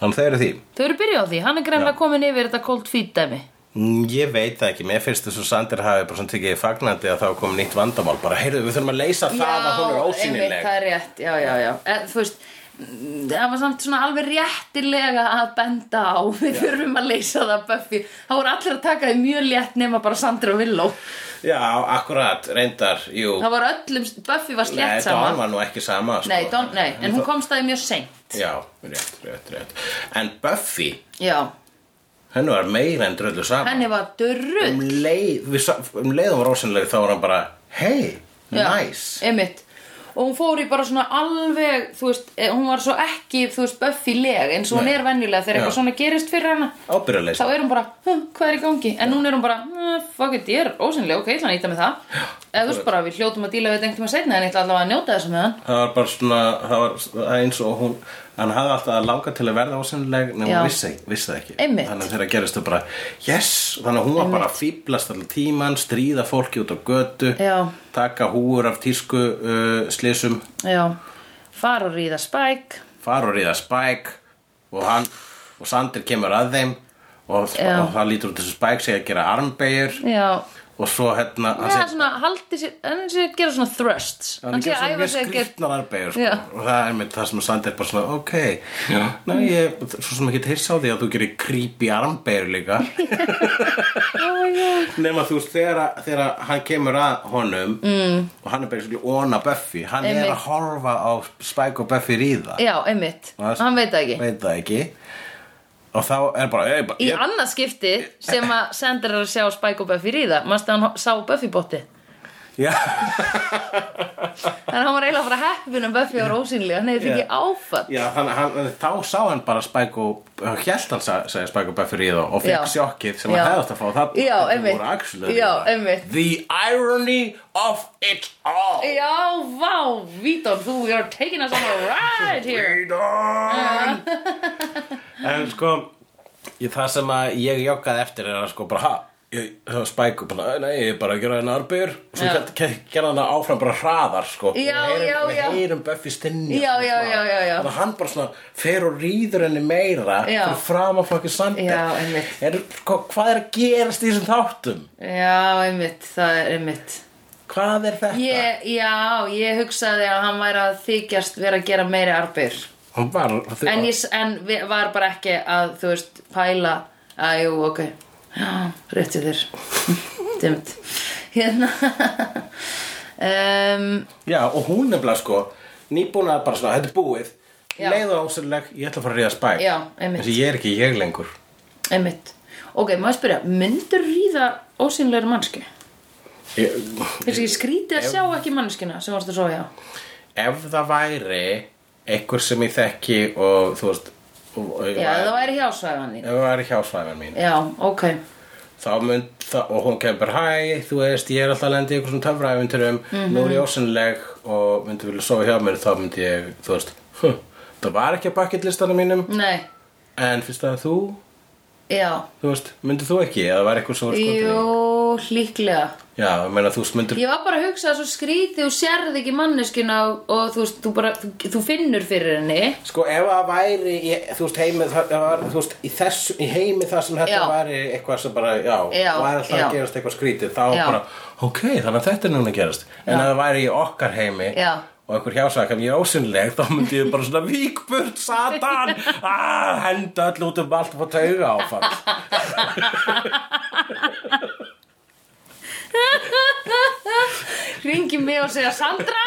Þannig þau eru því.
Þau eru byrjuð á því, hann er greinlega komin yfir þetta cold feet dæmi
Mm, Ég veit það ekki, mér finnst þess að Sander hafi bara svona tekið í fagnandi að það kom nýtt vandamál bara, heyrðu, við þurfum að leysa það að hún er ósynileg
einmitt, það er rétt, já, já, já e, Þú veist, mm, það var samt svona alveg réttilega að benda á Við þurfum að leysa það Buffy Það voru allir að taka því mjög létt nema bara Sandra og Willow
Já, akkurat, reyndar, jú
Það var öllum, Buffy var
Nei,
slétt
Don
sama
var nú ekki sama sko.
Nei, don, nei, en hún komst það mjög seint
Já, rétt, rétt, rétt En Buffy,
Já,
henni var meira en dröllu sama
henni var
um
dörrull
leið, við, sa- um leið var ósynlega þá var hann bara Hey, nice
Einmitt Og hún fór í bara svona alveg, þú veist, eh, hún var svo ekki, þú veist, Buffy-leg eins og hún
Nei.
er venjulega þegar
Já.
eitthvað svona gerist fyrir hana
Ábyrjulegs
þá er hún bara, "Huh, hvað er í gangi en núna er hún bara, "Eh, fuck it, ég er ósynlega ok, ég ætla að nýta með það eða þú veist bara, við hljótum að díla við þetta einhvern tíma seinna en ég ætla allavega að njóta þessu með hann
Það var bara svona, það var það er eins og hún Hann hafði alltaf að langa til að verða ósynleg Nei,
Já.
hún vissi, vissi það ekki
Einmitt.
Þannig að þegar gerist þau bara, yes Þannig að hún var bara að fýblast allir tíman Stríða fólki út á götu
Já.
Taka húur af tísku uh, slysum
já, fara og ríða Spike
fara og ríða Spike og hann og Sander kemur að þeim og,
Já.
og það lítur út þessu Spike segja að gera armbegjur
já,
og svo hérna hann
það er svona haldi sér, hann sé að gera svona thrusts hann sé að
svona
æfa
mjög
sig að gera
skrýtnar armbegjur
Já.
sko. og það er með það sem Sander bara svona ok, ná ég svo sem ekki tilsa á því að þú gerir creepy armbegjur líka nema þú veist þegar, að- þegar að hann kemur að honum mm. og hann er bara svona ona Buffy hann
Einmitt.
er að horfa á Spike og Buffy ríða
já, einmitt,
Og það-
hann veit það ekki
veit það ekki og þá er bara, ég,
í
ég,
annað skipti sem að Sander er að sjá Spike og Buffy ríða mannst að hann sá Buffy bótti
já
þannig að hann var eiginlega bara heppin um Buffy var ósynlega, hann hefði ekki áfall
Já, þannig að hann- þá sá hann bara Spike og Hjælt hann sa- sagði Spike og Buffy ríða og fekk
Já.
sjokkið sem
Já.
hann hefðast að fá það
Já, einmitt.
voru actually
Já,
ríða.
einmitt.
The irony of it all
Já, vá, Vítor, þú you're taking us on a ride here
Freedom En sko ég, það sem að ég joggaði eftir er að sko bara ha ég, það var Spike og bara, nei, ég er bara að gera henni arbeigur og svo
Já.
hélt- ke- gerði hann áfram bara hraðar sko.
Já,
við heyrum,
já,
við
já.
heyrum Buffy sko, stinni
Já, já, já, já, já.
og hann bara svona fer og rýður henni meira
Já.
fyrir fram að fokkin sandi
Já, einmitt.
er, sko, hvað er að gerast í þessum þáttum
Já, einmitt, það er einmitt
hvað er þetta
ég, Já, ég hugsaði að hann væri að þykjast vera að gera meiri arbeyr
hann var, þau-
En, ég, s- en vi- var bara ekki að, þú veist, pæla Að jú, ok Já, rétti þér Dimt Hérna um,
Já, og hún nefnilega sko nýbúna bara svona, þetta er búið
Já.
leið og ásynleg, ég ætla að fara að ríða spæk
Já, einmitt.
Þessi ég er ekki ég lengur
Einmitt Ok, maður spyrja, myndur ríða ósynlegri mannski?
ég,
Finnst ekki skrítið að sjá ekki manneskina sem varst að svo hjá?
Ef það væri einhver sem ég þekki og þú veist og, og,
Já, það væri hjásvæðan þín.
Ef það væri hjá svæðan mín
Já, ok.
þá mynd, það, og hún kemur bara hæ, þú veist, ég er alltaf að lenda í einhversum töfraæfinturum, nú
Mhm.
er ég ósynleg og myndi vilja sofa hjá mér, þá myndi ég þú veist, hm, það var ekki að bucket listanum mínum,
Nei,
en fyrst að þú
já.
þú veist, myndið þú ekki, eða var eitthvað svo
Jú, líklega
Já, ég meina þú myndir
Ég var bara að hugsa að svo skrítið og sérð ekki manneskina og, og þú, veist, þú, bara, þú, þú finnur fyrir henni
Sko ef það væri, í, þú veist, heimi, það það var, þú veist, í, þess, í heimi það sem þetta
Já.
væri eitthvað sem bara, já,
Já,
væri alltaf
já.
að gerast eitthvað skrítið, þá
Já.
bara, ok, þannig að þetta er núna að gerast. En ef það væri í okkar heimi
Já.
og einhver hjásakam, ég er ósynleg, þá myndi ég bara svona víkburt, satan, ah, henda öll út um allt og fá tauga áfall.
Ringi mig og segja Sandra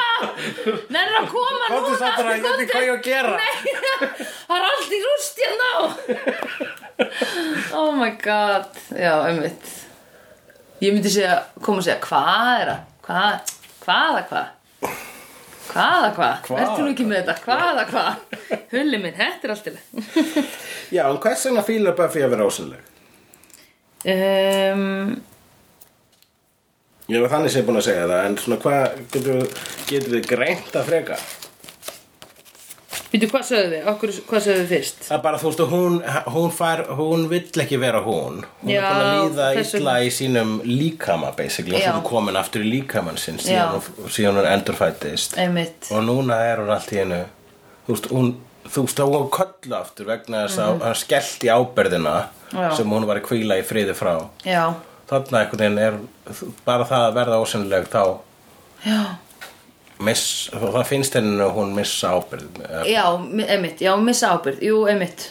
Nennir að koma
Komdu,
núna
Sandra, ég veit ekki hvað ég á að gera."
Nei, það er allt í rúst hérna. ég ná Oh my god Já, einmitt Ég myndi segja, koma og segja Hvað er það? Hvað? Hvaða hvað? Hvaða hvað?
Hvaða
Ertu nú ekki með þetta? Hvaða hvað? Hulli minn, þetta er allt í leið
Já, en hvers vegna fílar Buffy að vera ósynleg?
um,
Ég var þannig sem búin að segja það, en svona hvað getur, getur við greint að freka?
Býtu, hvað sögðu við? Okkur, hvað sögðu við fyrst?
Það er bara, þú veist, hún, hún fær, hún vill ekki vera hún. Hún
Já,
er búin að líða
þess
illa í sínum líkama, basically.
Já.
Já. Hún er komin aftur í líkamann sinn
Já.
síðan, hún- síðan hún endurfættist.
Einmitt
Og núna er hún allt í hennu, þú veist, hún, þú veist, þá var hún köllu aftur vegna þess að hann skellti ábyrðina
Mhm. Já.
sem hún var að hvíla í friði frá.
Já,
Þarna einhvern veginn er þú- bara það að verða ósynleg þá
já
miss, það finnst henni að hún missa ábyrð.
Já, mi- einmitt, já, missa ábyrgð Jú, einmitt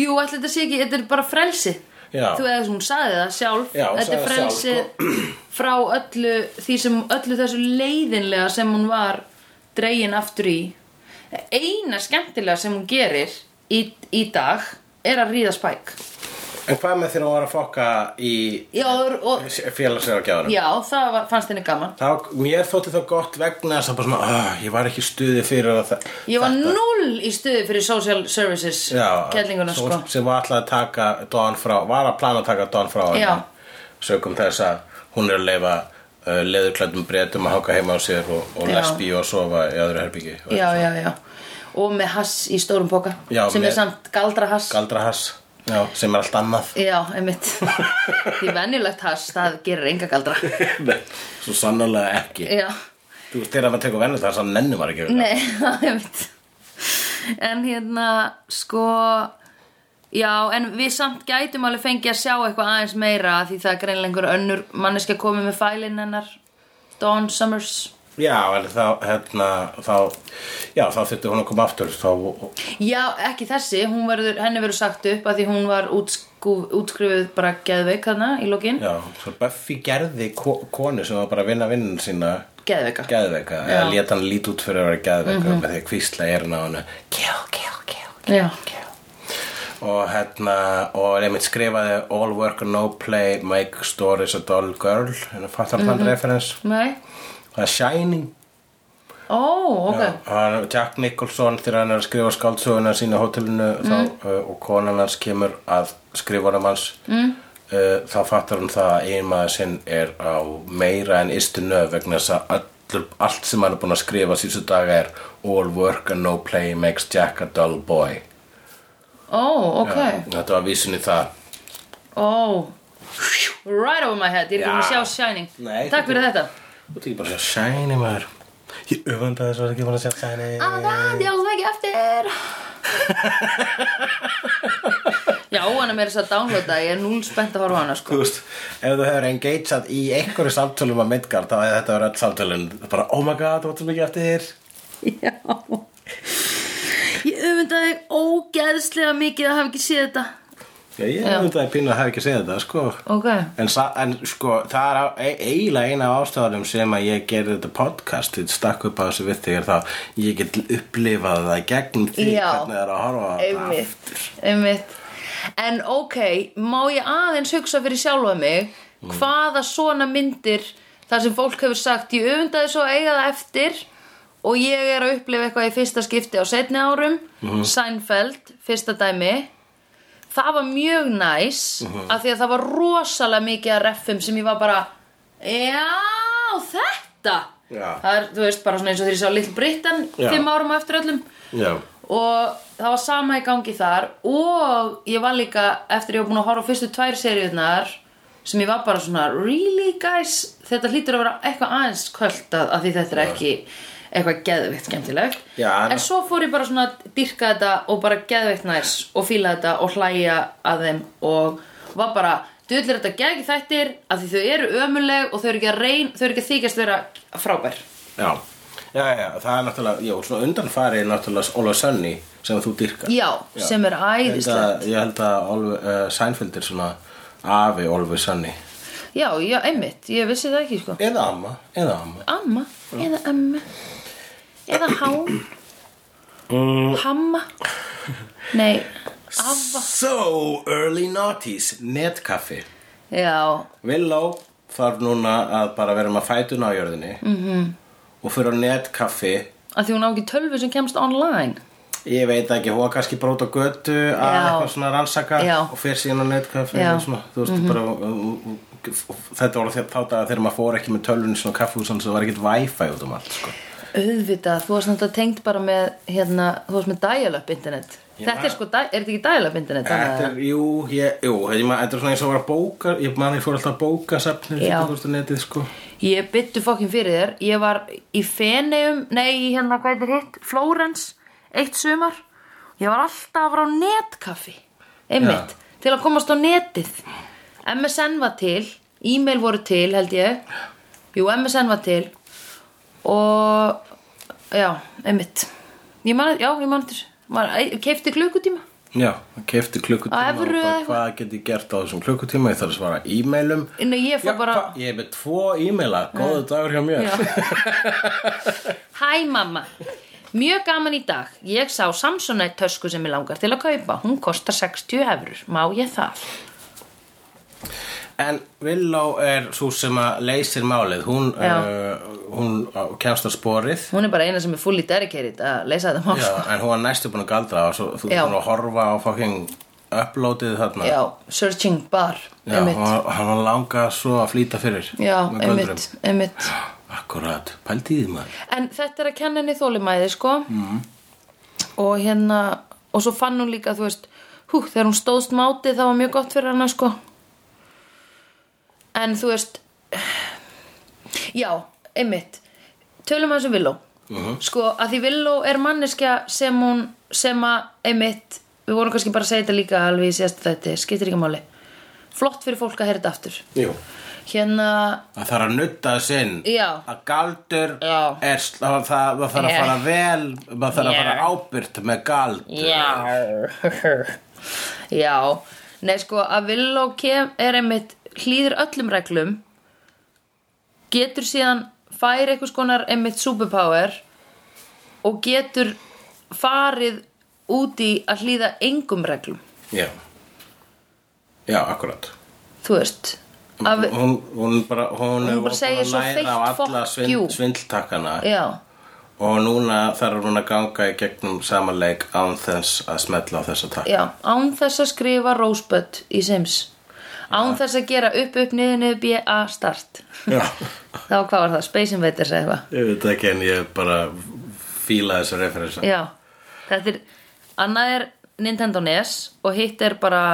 Jú, ætli þetta sé ekki, þetta er bara frelsi
Já.
Þú eða hún sagði það sjálf
Já, hún
Þetta er
sagði það
frelsi
sjálf, sko.
frá öllu því sem öllu þessu leiðinlega sem hún var dregin aftur í Eina skemmtilega sem hún gerir í, í dag er að ríða spæk
En hvað með þegar hún var að fokka í
Já, og, og,
félagslega gjáðanum?
já það var, fannst henni gaman
þá, mér þótti það gott vegna þess að bara svona, uh, ég var ekki í stuði fyrir að það
Ég var null í stuði fyrir social services kellinguna
svo-
sko
sem var alltaf að taka Don frá, var að plana að taka Don frá henni.
Já.
sögum þess að hún er að leifa uh, leðurklændum breytum að hanga heima á sér og, og
Já.
lesbí og sofa í öðru herbyggi
já, já, já og með hass í stórum boka
Já,
sem
með-
er samt galdra hass
galdra hass, já, sem er allt annað
já, einmitt því venjulegt hass, það gerir enga galdra
Nei, svo sannlega ekki
já,
þú veist þegar maður tekur vennið það þannig nennum maður ekki að gera
nei, einmitt en hérna, sko já, en við samt gætum alveg fengið að sjá eitthvað aðeins meira af því það er greinlega einhver önnur manneski að komi með fælin hennar Dawn Summers
það. já, en þá, hérna, þá já, þá þurfti hún að koma aftur þá,
já, ekki þessi, hún verður, henni verður sagt upp af því hún var útskúf, útskrifuð bara geðveik þarna í lokin
Já, svo Buffy gerði ko konu sem var bara að vinna vinnun sína
geðveika
geðveika,
Já. Mhm.
eða leta hann lít út fyrir að vera geðveika með því að kvísla er hann á hennu kill, kill, kill, kill,
Já.
kill og hérna og einmitt skrifaði all work and no play make stories a dull girl en það fattar
Mhm.
þann referens
Nei,
það er Shining
ó, ok
Já, hann, Jack Nicholson þegar hann er að skrifa skáldsöguna sína á hótelinu þá, uh, og konan hans kemur að skrifunum hans mm. uh, þá fattar hann það að einmaður sinn er á meira en ystu nöf vegna þess að allur, allt sem hann er búin að skrifa síðustu daga er all work and no play makes Jack a dull boy
Ó, ok
þetta var vísun í það
Ó Right over my head, ég er búin að
Já.
sjá Shining
Nei,
Takk fyrir þetta
þú tekur bara að sjá Shiny maður ég öfanda þess að það ekki búin að sjá Shiny
Ah, það, ég alveg ekki eftir Já, hann er meira þess að downloada Ég er núl spennt að horfa á hana,
Þú
sko
veist, ef þú hefur engageð í einhverju samtölum að Midgard þá hefði þetta verið öll samtölun bara, oh my god, þú varst svo mikið eftir þér
Já Ég öfunda þig ógeðslega mikið að hafa ekki séð þetta
Já, ég hef þetta að pínu að hafa ekki segið þetta, sko
Ok
En, sa- en sko, það er á- e- eiginlega eina af ástæðanum sem að ég gerði þetta podcast til stakk upp á þessu við þig er það ég get upplifað það gegnum því
Já.
hvernig það er að horfa á þetta
Einmitt, einmitt En ok, má ég aðeins hugsa fyrir sjálfa mig
Mm.
Hvaða svona myndir þar sem fólk hefur sagt Ég öfundaði svo að eiga það eftir Og ég er að upplifa eitthvað í fyrsta skipti á setni árum
Mhm.
Seinfeld, fyrsta dæmi Það var mjög næs
Mhm.
Af því að það var rosalega mikið að reffum Sem ég var bara Já, þetta
Já.
Það er, þú veist, bara svona eins og þegar ég sá Little Britain
Já.
Fimm árum á eftir öllum
Já,
og það var sama í gangi þar og ég var líka eftir ég var búin að horfa á fyrstu tvær seriðnar sem ég var bara svona really guys, þetta hlýtur að vera eitthvað aðeins kvöldað af því þetta er ekki eitthvað geðveikt skemmtilegt
Já, en-
en svo fór ég bara svona að dyrka þetta og bara geðveikt næs og fíla þetta og hlæja að þeim og var bara dullir þetta gegn þættir af því þau eru ömuleg og þau eru ekki að reyn þau eru ekki að þykjast vera frábær
Já, já, já, það er náttúrulega, já, svona undanfari er náttúrulega Óla Sönni sem þú dyrkar.
já, sem er
Ég held að-
æðislegt
Ég held að Oliver, uh, Seinfeld er svona afi Oliver Sönni.
já, já, einmitt, ég vissi það ekki sko
Eða amma, eða amma.
amma eða amma eða hám
Mm.
hamma nei, afva
So early noughties, netkaffi.
já,
Villó þarf núna að bara vera með fætuna á jörðinni -hmm.
Mhm.
og fyrir á netkaffi
að því hún á ekki tölvu sem kemst online
ég veit ekki, hún var kannski brót á götu að
Já.
eitthvað svona rannsaka
Já.
og fyrir síðan á netkaffi
Já. Mhm.
og svona, þú veist, bara, uh, uh, uh, þetta voru þegar þátt að þegar maður fór ekki með tölvun svona kaffihúsan svo var ekkert wifi út um allt sko.
auðvitað, þú varst náttúrulega tengt bara með hérna, þú varst með dial-up internet
Já.
þetta er sko, di- er þetta ekki dial-up internet
Þetta er, jú, ég, jú, ég man, þetta er svona eins og var að bóka, ég man ég fór alltaf að bóka safnir
Já.
fyrir þú netið, sko.
Ég byttu fokkin fyrir þér Ég var í Feneum Nei, í hérna, hvað er hitt? Flórens, eitt sumar Ég var alltaf að fara á netkaffi Einmitt, til að komast á netið MSN var til E-mail voru til, held ég Jú, MSN var til Og Já, einmitt Ég man, já, ég man eftir Maður keifti klukkutíma
Já, kefti klukkutíma
Á
og
evru eða
bara,
eitthvað?
hvað get ég gert á þessum klukkutíma, ég þarf að svara e-mailum.
Nei, ég fór bara
hva- Ég er með tvo e-maila, góðu dagur hjá mér
Já. Hæ mamma Mjög gaman í dag Ég sá Samsonite tösku sem ég langar til að kaupa Hún kostar 60 hefur Má ég það?
En Villó er svo sem að leysir málið Hún,
Já.
uh, hún uh, kemst á sporið
Hún er bara eina sem er fully dedicated að leysa þetta mál
Já, En hún var næstu búin að galdra og svo, Þú
Já.
er búin að horfa á fucking uploadið þarna
Já, searching bar
Já,
einmitt.
og hann var langa svo að flýta fyrir
Já,
með göldrum.
einmitt, einmitt
Akkurat, pældi í því maður
En þetta er að kenna henni þólimæði sko mm. Og hérna Og svo fann hún líka, þú veist Hú, þegar hún stóðst máti það var mjög gott fyrir hana sko En þú veist Já, einmitt Tölum að þessu Villó Sko, að því Villó er manneskja sem hún sem að, einmitt Við vorum kannski bara að segja þetta líka alveg í sérst þetta Skiptir ekki máli Flott fyrir fólk að heyra þetta aftur
Jú
Hérna,
Það þarf að nutta sinn
Já.
Að galdur
Já.
er sl- það, það, það þarf að
Yeah.
fara vel Það þarf að
Yeah.
fara ábyrgt með galdur
Já Já Nei sko að Villó kem er einmitt hlýður öllum reglum getur síðan fær einhvers konar einmitt superpower og getur farið út í að hlýða engum reglum
Já, Já akkurat
þú veist að,
hún, hún bara hún, er
bara
búin
segir
að
svo
læra
feitt
á alla
fuck you.
svind, svindltakkana
Já,
og núna þarf hún að ganga í gegnum samanleik án þess að smetla á þessa takk
já, án þess að skrifa Rosebud í Sims án þess að gera upp upp niður niður BA start
Já,
þá hvað var það, Space Invaders eða eitthvað
ég veit ekki en ég bara fíla þessa referensa
Já, þetta er annað er Nintendo NES og hitt er bara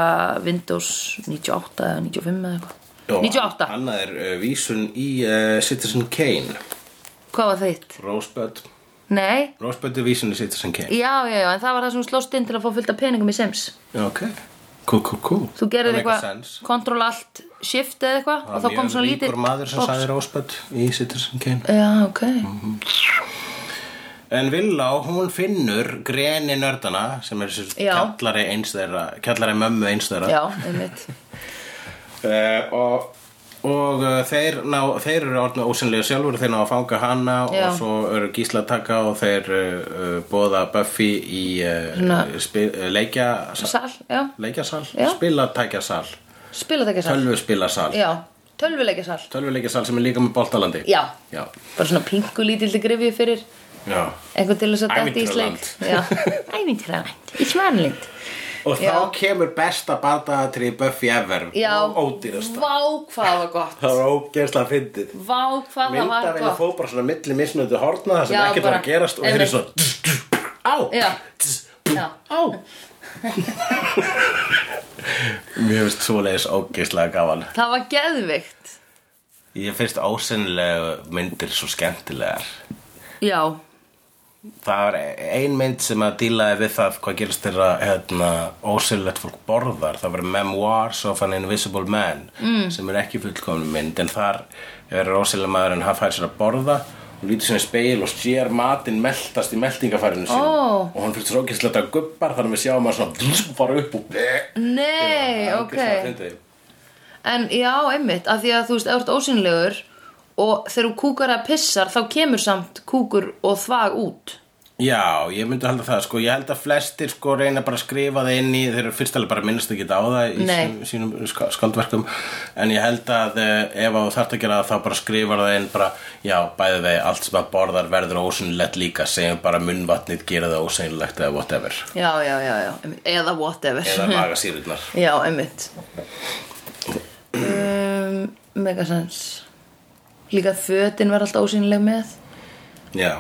Windows 98 eða 95 eða
Og
eitthvað 98,
Annað er uh, vísun í uh, Citizen Kane
hvað var þitt?
Rosebud
Nei,
Rosebud er vísun í Citizen Kane
já, já, já, en það var það sem hún slóst inn til að fá fullt af peningum í Sims
Ok, cool, cool, cool
Þú gerir
Það make a
eitthvað,
sense.
control alt shift eða eitthvað og þá kom svona
Það var mjög
lítið
ríkur maður sem
box.
sagði Mhm. Rosebud í Citizen Kane
Já, ok,
En Villá, hún finnur greni nördana sem er sér
Já.
kjallari eins þeirra kjallari mömmu eins þeirra
já, einmitt
uh, og, og uh, þeir, ná, þeir eru orðna ósynlega sjálfur þeir ná að fanga hana
Já.
og svo eru gísla að taka og þeir uh, uh, bóða Buffy í uh,
Svona-
spil, uh, leikja
Sal, já,
leikjasal,
Já.
spilatækjasal
spila það ekki sal
tölvuspilasal,
Já, tölvuleikja sal
tölvuleikjasal sem er líka með boltalandi
Já,
Já,
bara svona pingu lítildi grifið fyrir
já
einhvern til þess að dætti í
Ævintýraland.
sleik Já, ævintýraland, í svanlind
Og þá
Já.
kemur besta bardaðatri Buffy ever
Já,
og ódýrasta
vá hvað það var gott
Það var ógeðslega fyndið
Vá hvað það var
Myndavelin
gott
fóð bara svona milli mismunandi horna það sem
Já,
ekkert var
bara-
að gerast og þeir
einmitt.
eru svona á
Já.
tss,
Já.
á Mér finnst svoleiðis ógeislega gaman
Það var geðvikt
Ég finnst ósennilega myndir svo skemmtilegar
Já,
Það var ein mynd sem að dílaði við það hvað gerist þeirra hérna, ósynlegt fólk borðar. Það var Memoirs of an Invisible Man mm. sem er ekki fullkomni mynd en þar er ósynlega maðurinn hann fær sér að borða og lítur sinni speil og sér matinn meltast í meltingafærinu sinni
Ó.
og hann fyrir svo ekki sletta gubbar þannig að við sjáum að svona fara upp og
nei,
Það er
ok
ógeðslega fyndið.
En já, einmitt, af því að þú veist, ef þú ert ósynlegur og þegar þú kúkar að pissar þá kemur samt kúkur og þvag út
Já, ég myndi halda það, sko, ég held að flestir sko reyna bara að skrifa það inn í þeir eru fyrst alveg bara minnst ekki á það í
Nei.
sínum, sínum ska- skaldverkum en ég held að eh, ef þú þarft að gera það þá bara skrifar það inn bara, já, bæði vegi, allt sem að borðar verður ósynlegt líka, segjum bara munnvatnið gera það ósynlegt eða whatever
Já, já, já, já, einmitt. eða whatever
eða magasýrurnar
Já, einmitt um, Megasens Líka fötin var alltaf ósynleg með
Já,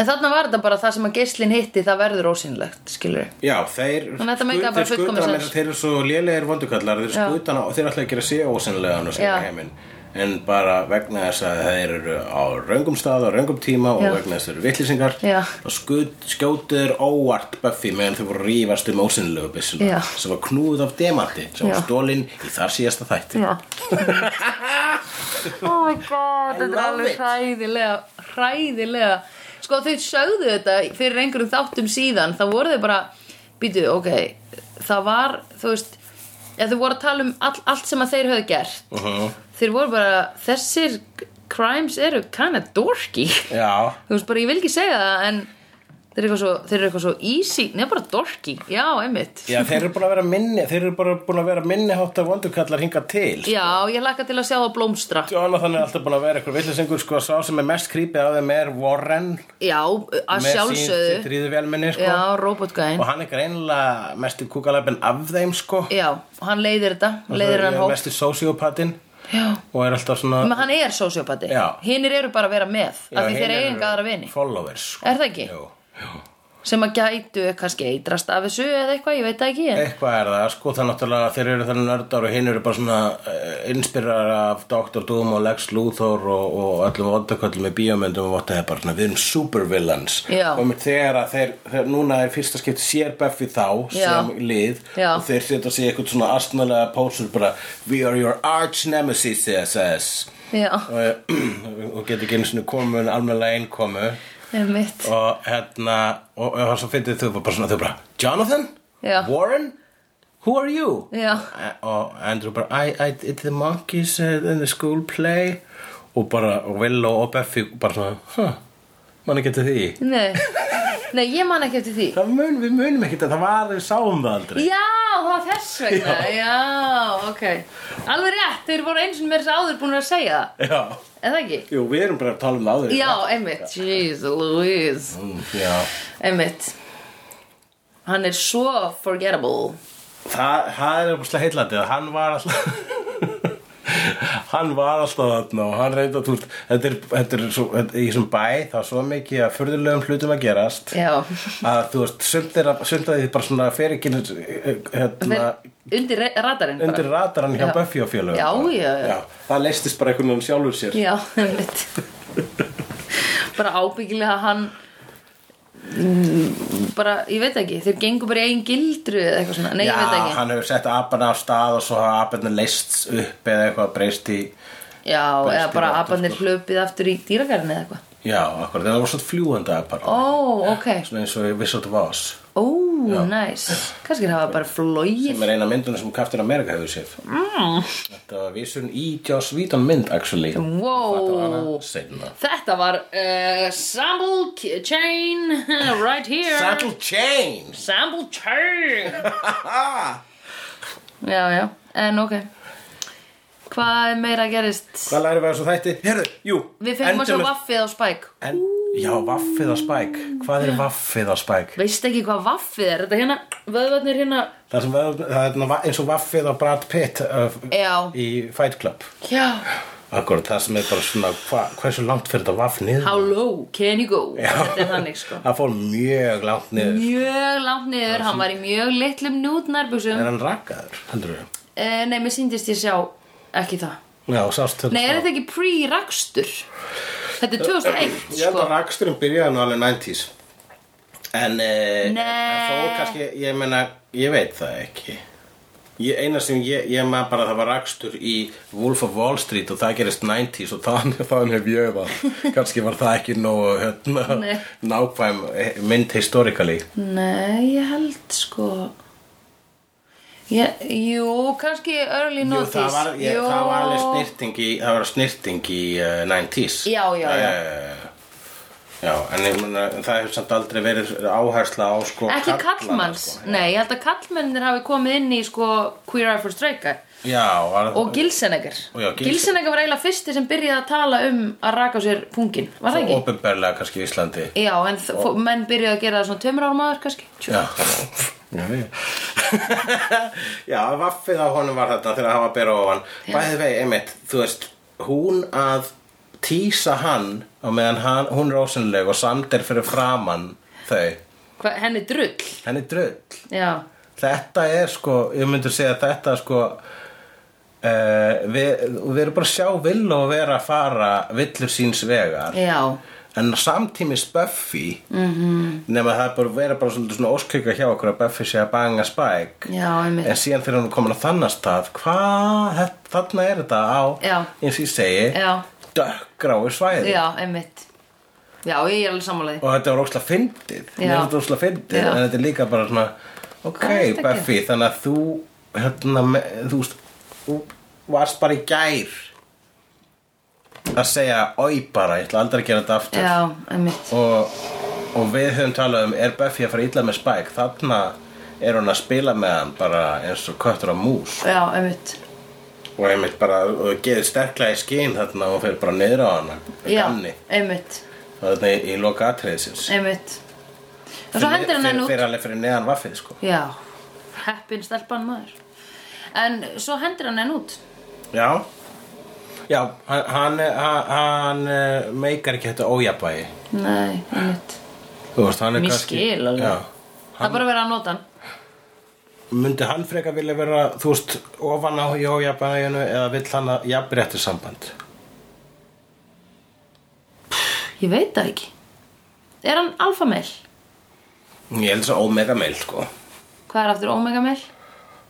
En þarna var þetta bara það sem að geislinn hitti það verður ósynlegt, skilur
já, þeir
Þannig að þetta meikar bara fullkomið
skutana
sens.
meira, þeir eru svo lélegir vondukallar þeir
Já.
skutana og þeir ætla að gera sig ósynlegan og segja
Já.
heiminn en bara vegna þess að þeir eru á raungum stað á raungum tíma og
Já.
vegna þess að þeir eru vitlýsingar
Já.
og skjótu þeir óvart Buffy meðan þeir voru að rífast um ósynlegu byssuna
Já.
sem var knúð af demati sem
Já.
var stólinn í þar síðasta þætti
Já Oh my god, þetta er
love
alveg
it.
hræðilega Hræðilega Sko þau sögðu þetta fyrir einhverjum þáttum síðan þá voru þau bara, býtu, ok Það var, þú veist Ef þau voru að tala um all, allt sem að þeir höfðu gert
uh -huh.
þeir voru bara þessir crimes eru kind of dorky
Já,
þú veist bara ég vil ekki segja það en þeir eru eitthvað svo, þeir eru eitthvað svo easy nefn bara dorky, já einmitt
Já, þeir eru búin að vera minni þeir eru bara búin að vera minni háttar vondukallar hinga til
já, ég laka til að sjá það blómstra
Jonathan er alltaf búin að vera eitthvað villisengur sko, sá sem er mest krýpið af þeim er Warren
já, að
með sín
sjálfsögðu
þrýðu velminni sko.
já, robotgæðin
og hann er greinilega mestu kúkalabin af þeim sko.
já, og hann leiðir þetta, leiðir hann
Ég er
hótt
mestu sociopatinn
já,
og er alltaf svona
menn hann er sociopati
Já.
hinnir eru bara að vera með
Já,
af því þeir
hinir
eiga
eru
enga aðra vini
followers sko.
er það ekki?
Jú.
sem að gætu kannski eitrast af þessu eða eitthvað, ég veit það ekki en...
eitthvað er það sko það er náttúrulega þeir eru þannig nördar og hinn eru bara svona uh, inspirar af Dr. Doom og Lex Luthor og, og öllum vandaköllum í bíómyndum og votta það bara svona við erum supervillans
Já.
og með þegar að þeir, þeir núna er fyrsta skipti sér Buffy þá sem
Já.
lið
Já.
og þeir setja sig í eitthvað svona astnalega pósur bara we are your arch nemesis CSS
já,
og, eh, og getur ekki einu sinni komið með almennilega einkomu
einmitt
og hérna og, og, og svo fyndið þau bara svona þau bara Jonathan?
Já.
Warren? Who are you?
Já.
A- og Andrew bara I, I did the monkeys uh, in the school play og bara og Willow og Buffy bara svona huh, mann ekki eftir því
Nei, nei ég man ekki eftir því
það mun, við munum ekkert að það var við sáum það aldrei
Já, það var þess vegna, já, ok Alveg rétt, þeir voru eins og mér þess áður búin að segja það
Já.
Er það ekki?
Jú, við erum bara að tala um það áður
Já, einmitt, jeez, Louise
Mm, Já.
Einmitt Hann er svo forgettable
Það, það er eitthvað heillandi að hann var alltaf hann var alltaf þarna og hann reynda þú veist, þetta er, þetta er svo, þetta, í þessum bæ það er svo mikið að furðulegum hlutum að gerast
Já,
að þú veist, sumt er að- sumt að því bara svona fer ekki eh, hérna,
Þeir- undir re- radarinn bara.
undir radaran hjá
Já.
Buffy og félögum
Já,
bara.
já, já.
það leistist bara einhvern veginn sjálfur sér
Já, einmitt Bara ábyggilega hann Mm, bara, ég veit ekki, þeir gengur bara í eigin gildru eða eitthvað svona, nei,
Já,
ég veit ekki
hann hefur sett apana af stað og svo hafa apana leist upp eða eitthvað breyst í
Já,
Besti
eða bara
rottur,
abarnir
sko.
hlupið aftur í dýragarinn eða eitthvað.
já, akkur, það var svona fljúandi apana
Ó, ok.
svona eins og Wizard of Oz
Ó, næs. Kannski hafa bara flóið.
sem er eina mynduna sem Captain America hefur séð mm. þetta var vísun í Joss Whedon mynd actually
Wow.
setna
Þetta var uh, Sample K- Chain right here.
Saddle Chains
Sample Chain. já, já, en ok. Hvað meira gerist?
hvað lærum við þessu þætti? Herðu, jú
Við fengum að svo vaffið á Spike.
en, já, vaffið á Spike hvað er vaffið á Spike?
Veist ekki hvað vaffið er? Þetta hérna, vöðvarnir hérna.
það, sem, var- það er svona va- eins og vaffið á Brad Pitt uh,
Já.
í Fight Club
Já.
Akkurat, það sem er bara svona hva, hversu langt fyrir þetta vaff niður
How low can you go? Þetta er þannig sko
Það fór mjög langt niður
Mjög langt niður, hann var í mjög litlum nútnarbusum
Er hann rakaður, heldur við?
Eh, Nei, mér síndist ég sjá ekki það
Já, sást þetta
Nei, er þetta ekki pre-rakstur? Þetta er 2001
Ég held
sko
að raksturinn byrjaði nú alveg 90s En eh,
Nei.
en Þó kannski, ég meina, ég veit það ekki Ég, eina sem ég, ég maður bara að það var rakstur í Wolf of Wall Street og það gerist 90s og þannig, þannig hef ég var kannski var það ekki nógu hérna,
Nei.
nákvæm eh, mynd historikali
Nei, ég held sko ég, Jú, kannski early
Jú,
notice
það var, ég, það var alveg snirting í, það var snirting í uh, 90s
Já, já, já.
Eh, Já, en ég mun það hefur samt aldrei verið áhersla á sko
Ekki
karlana,
kallmanns,
sko.
nei, ég held að kallmennir hafi komið inn í sko Queer Eye for Straight Guy
Já, var,
og Gilsenegger
Og já, Gilsen-
Gilsenegger var eiginlega fyrsti sem byrjaði að tala um að raka á sér pungin, var það ekki?
Opinberlega kannski í Íslandi
Já, en þ- fó- menn byrjuðu að gera það svona tveimur árum aður kannski
Já Já, já. já, vaffið á honum var þetta þegar hann var að bera ofan Bæði vegi, einmitt, þú veist Hún að tísa hann á meðan hann, hún er ósynleg og samt er fyrir framann þau
Hva, Henni drull
Henni drull
Já,
Þetta er sko, ég myndi segja þetta sko uh, við, við erum bara að sjá vill og vera að fara villur síns vegar
já,
en samtímis Buffy
Mhm.
-hmm. nema það er bara vera bara svolítið svona óskjöka hjá okkur að Buffy sé að banga Spike
já, einmitt
en síðan þegar hún er komin að þannast það hvað, þetta- þarna er þetta á
Já.
eins og ég segi
Já.
dökkgráu svæði
Já, einmitt Já, ég er alveg sammálaði
og þetta var ókslega fyndið
Já.
mér er þetta ókslega fyndið
Já.
en þetta er líka bara svona ok
Hvað ertu að
Buffy þannig að þú hérna, me- þú, veist, þú varst bara í gær að segja oi bara, ég ætla aldrei að gera þetta aftur
Já, einmitt
og, og við höfum talað um er Buffy að fara illa með Spike þarna er hún að spila með hann bara eins og köttur á mús
Já, einmitt
og einmitt bara og geði sterklega í skinn þarna og hún fyrir bara niður á hana
Já,
gamni
einmitt,
þarna í, í loka atriðisins
einmitt Og svo hendur hann henn út
fyrir alveg fyrir neðan vaffið sko
Já, heppin stelpan maður En svo hendur hann henn út
Já Já, hann, hann, hann, hann eh, meikar ekki þetta ójabæði
Nei, einmitt
Þú veist, hann er
Ég
kannski
skil alveg.
Já
Það er bara að vera að nota hann
Myndi hann frekar vilja vera, þú veist, ofan á í ójabæðinu eða vill hann að jafnréttu samband?
Ég veit það ekki Er hann alfameil?
Ég held þess að Omega Mail, sko
Hvað er aftur omega meil?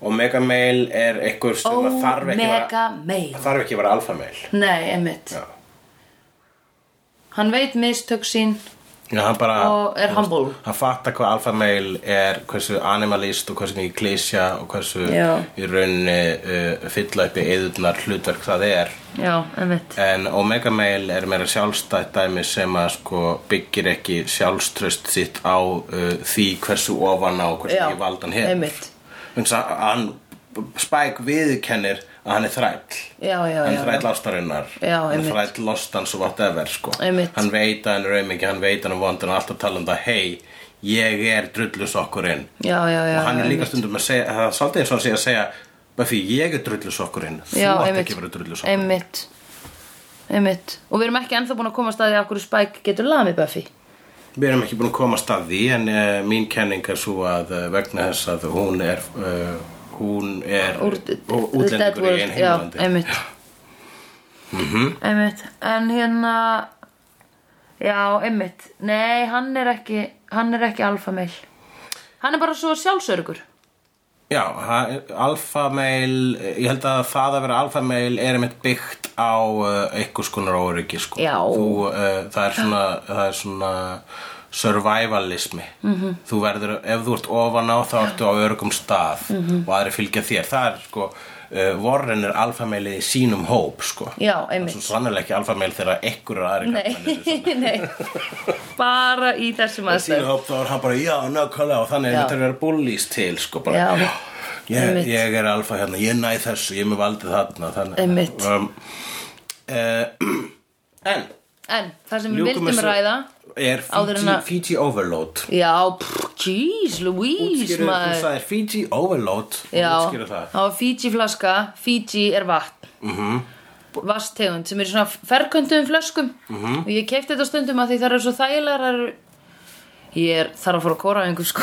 Omega Mail er einhver sem að þarf ekki að vera,
Omega meil
þarf ekki að vera alfa mail
Nei, einmitt
Já
Hann veit mistök sín
Já, hann bara
og er humble
Hann fattar hvað alfa mail er, hversu animalist og hversu mikið klísja og hversu
Já.
í rauninni uh, fylla uppi eðurnar hlutverk það er
Já, einmitt
En Omega Mail er meira sjálfstætt dæmi sem að sko byggir ekki sjálfströst sitt á uh, því hversu ofan á og hversu
Já,
ekki valdan hefur.
einmitt.
Þannig að hann Spike viðkennir að hann er þræll.
Já, já,
Hann
já,
er þræll ástarinnar.
Já,
hann er
einmitt.
þræll lostans og whatever sko.
Einmitt.
Hann veit að hann er aumingi, hann veit að hann er vondur, hann er alltaf talað um það, hei, ég er drullusokkurinn.
já, já, já
og hann er líka
einmitt.
stundum að segja, það er svolítið eins og hann sé að segja, Buffy, ég er drullusokkurinn, þú
Já,
átt
einmitt.
ekki að vera drullusokkurinn.
Einmitt Einmitt Og við erum ekki ennþá búin að koma að staði af hverju Spike getur lamið Buffy
Við erum ekki búin að koma að staði en uh, mín kenning er svo að uh, vegna þess að hún er uh, hún er
Úr
og útlendingur í einn
Já,
heimlandi Mhm.
einmitt Einmitt En hérna Já, einmitt Nei, hann er ekki Hann er ekki alfameil Hann er bara svo sjálfsörgur
Já, alfameil ég held að það að vera alfameil er einmitt byggt á uh, einhvers konar óryggi sko.
Já.
Þú, uh, það, er svona, það er svona survivalismi
Mhm.
-hmm. þú verður, ef þú ert ofan á þá ertu á örgum stað -hmm.
Mhm.
og aðri fylgja þér það er sko, uh, Warren er alfameilið í sínum hóp sko.
Já,
Það er
einmitt
svo sannlega ekki alfameil þegar ekkur er aðri
Nei, nei Bara í þessum
Sínu
aðstæðum
hóp þá er hann bara, já, nákvæmlega og
Já.
þannig er þetta að vera bullís til, sko, bara
Já.
ég,
Einmitt.
ég er alfa hérna, ég næ þessu, ég er með valdið þarna þannig,
Einmitt.
um, uh, En,
En það sem við
ljúkum
vildum ræða
er
áður en
Fiji,
að-
Fiji Overload
Já, pff, jeez, Louise
Útskýrðu, þú
maður
sagðir Fiji Overload
Já,
Útskýrðu það
það var Fiji flaska Fiji er vatn mm -hmm. vastegund sem er svona ferköntuðum flöskum -hmm. og ég keipti þetta stundum að því það eru svo þægilegar þær eru- ég er, þarf að fóra að kóra einhver sko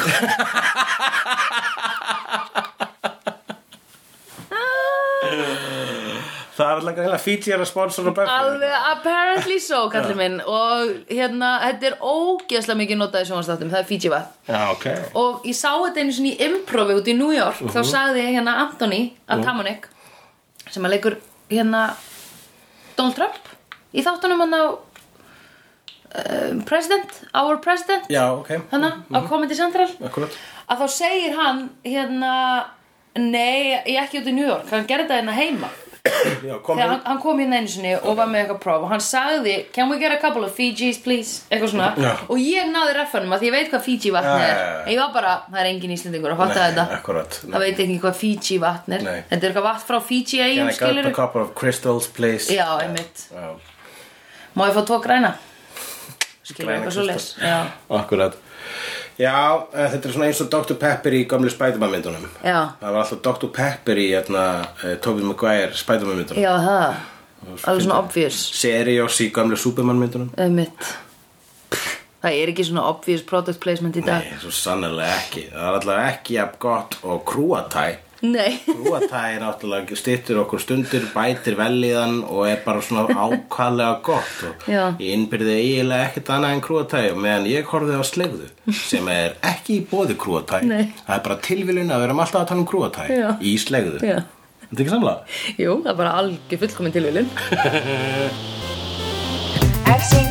Það er alltaf greinlega Fiji er að sponsora Buffy
alveg apparently so kallið minn og hérna þetta er ógeðslega mikið notað í sjónvastáttum það er Fiji vatn
Já, ok
og ég sá þetta einu svona í improvi út í New York þá sagði ég hérna Anthony Antamonic sem að leikur hérna Donald Trump í þáttunum hann á uh, President, Our President
Já, ok
hana, á Comedy Central
Akkurat
að þá segir hann hérna nei, ég ekki út í New York hann gerði þetta hérna heima
Já, kom
þegar
hérna
hann, hann kom hérna einu sinni og var með eitthvað próf og hann sagði, can we get a couple of Fijis please eitthvað svona,
Já.
og ég náði reffanum að því ég veit hvað Fiji vatn
Já,
er
já, já.
en ég var bara, það er engin íslendingur að fatta
Nei,
þetta
akkurat.
það veit ekki hvað Fiji vatn er
Nei.
þetta er eitthvað vatn frá Fiji
Can
eigum
I get a
skilur
couple of crystals, please
já, einmitt,
Já,
má ég fá tvo græna skilur
Græna
eitthvað svo les
kristal.
já,
akkurat Já, eh, þetta er svona eins og Dr. Pepper í gömlu Spiderman myndunum
já,
Það var alltaf Dr. Pepper í hérna, uh, Tobey Maguire Spiderman myndunum
já það alveg svona obvious
Seriós í gömlu Superman myndunum
Einmitt. Það er ekki svona obvious product placement í dag.
Nei, svo sannlega ekki Það er alltaf ekki jafn gott og krúatæ
Nei.
Krúatæ er náttúrulega stýttir okkur stundir bætir velliðan og er bara svona ákvæðlega gott og
Já.
ég innbyrði eiginlega ekkert annað en krúatæ og meðan ég horfði á slegðu sem er ekki í bóði krúatæ
Nei.
Það er bara tilviljun að við erum alltaf að tala um krúatæ
Já.
í slegðu
Já.
Þetta er ekki samlega?
Jú, það er bara algjör fullkomin tilvílun.
I've seen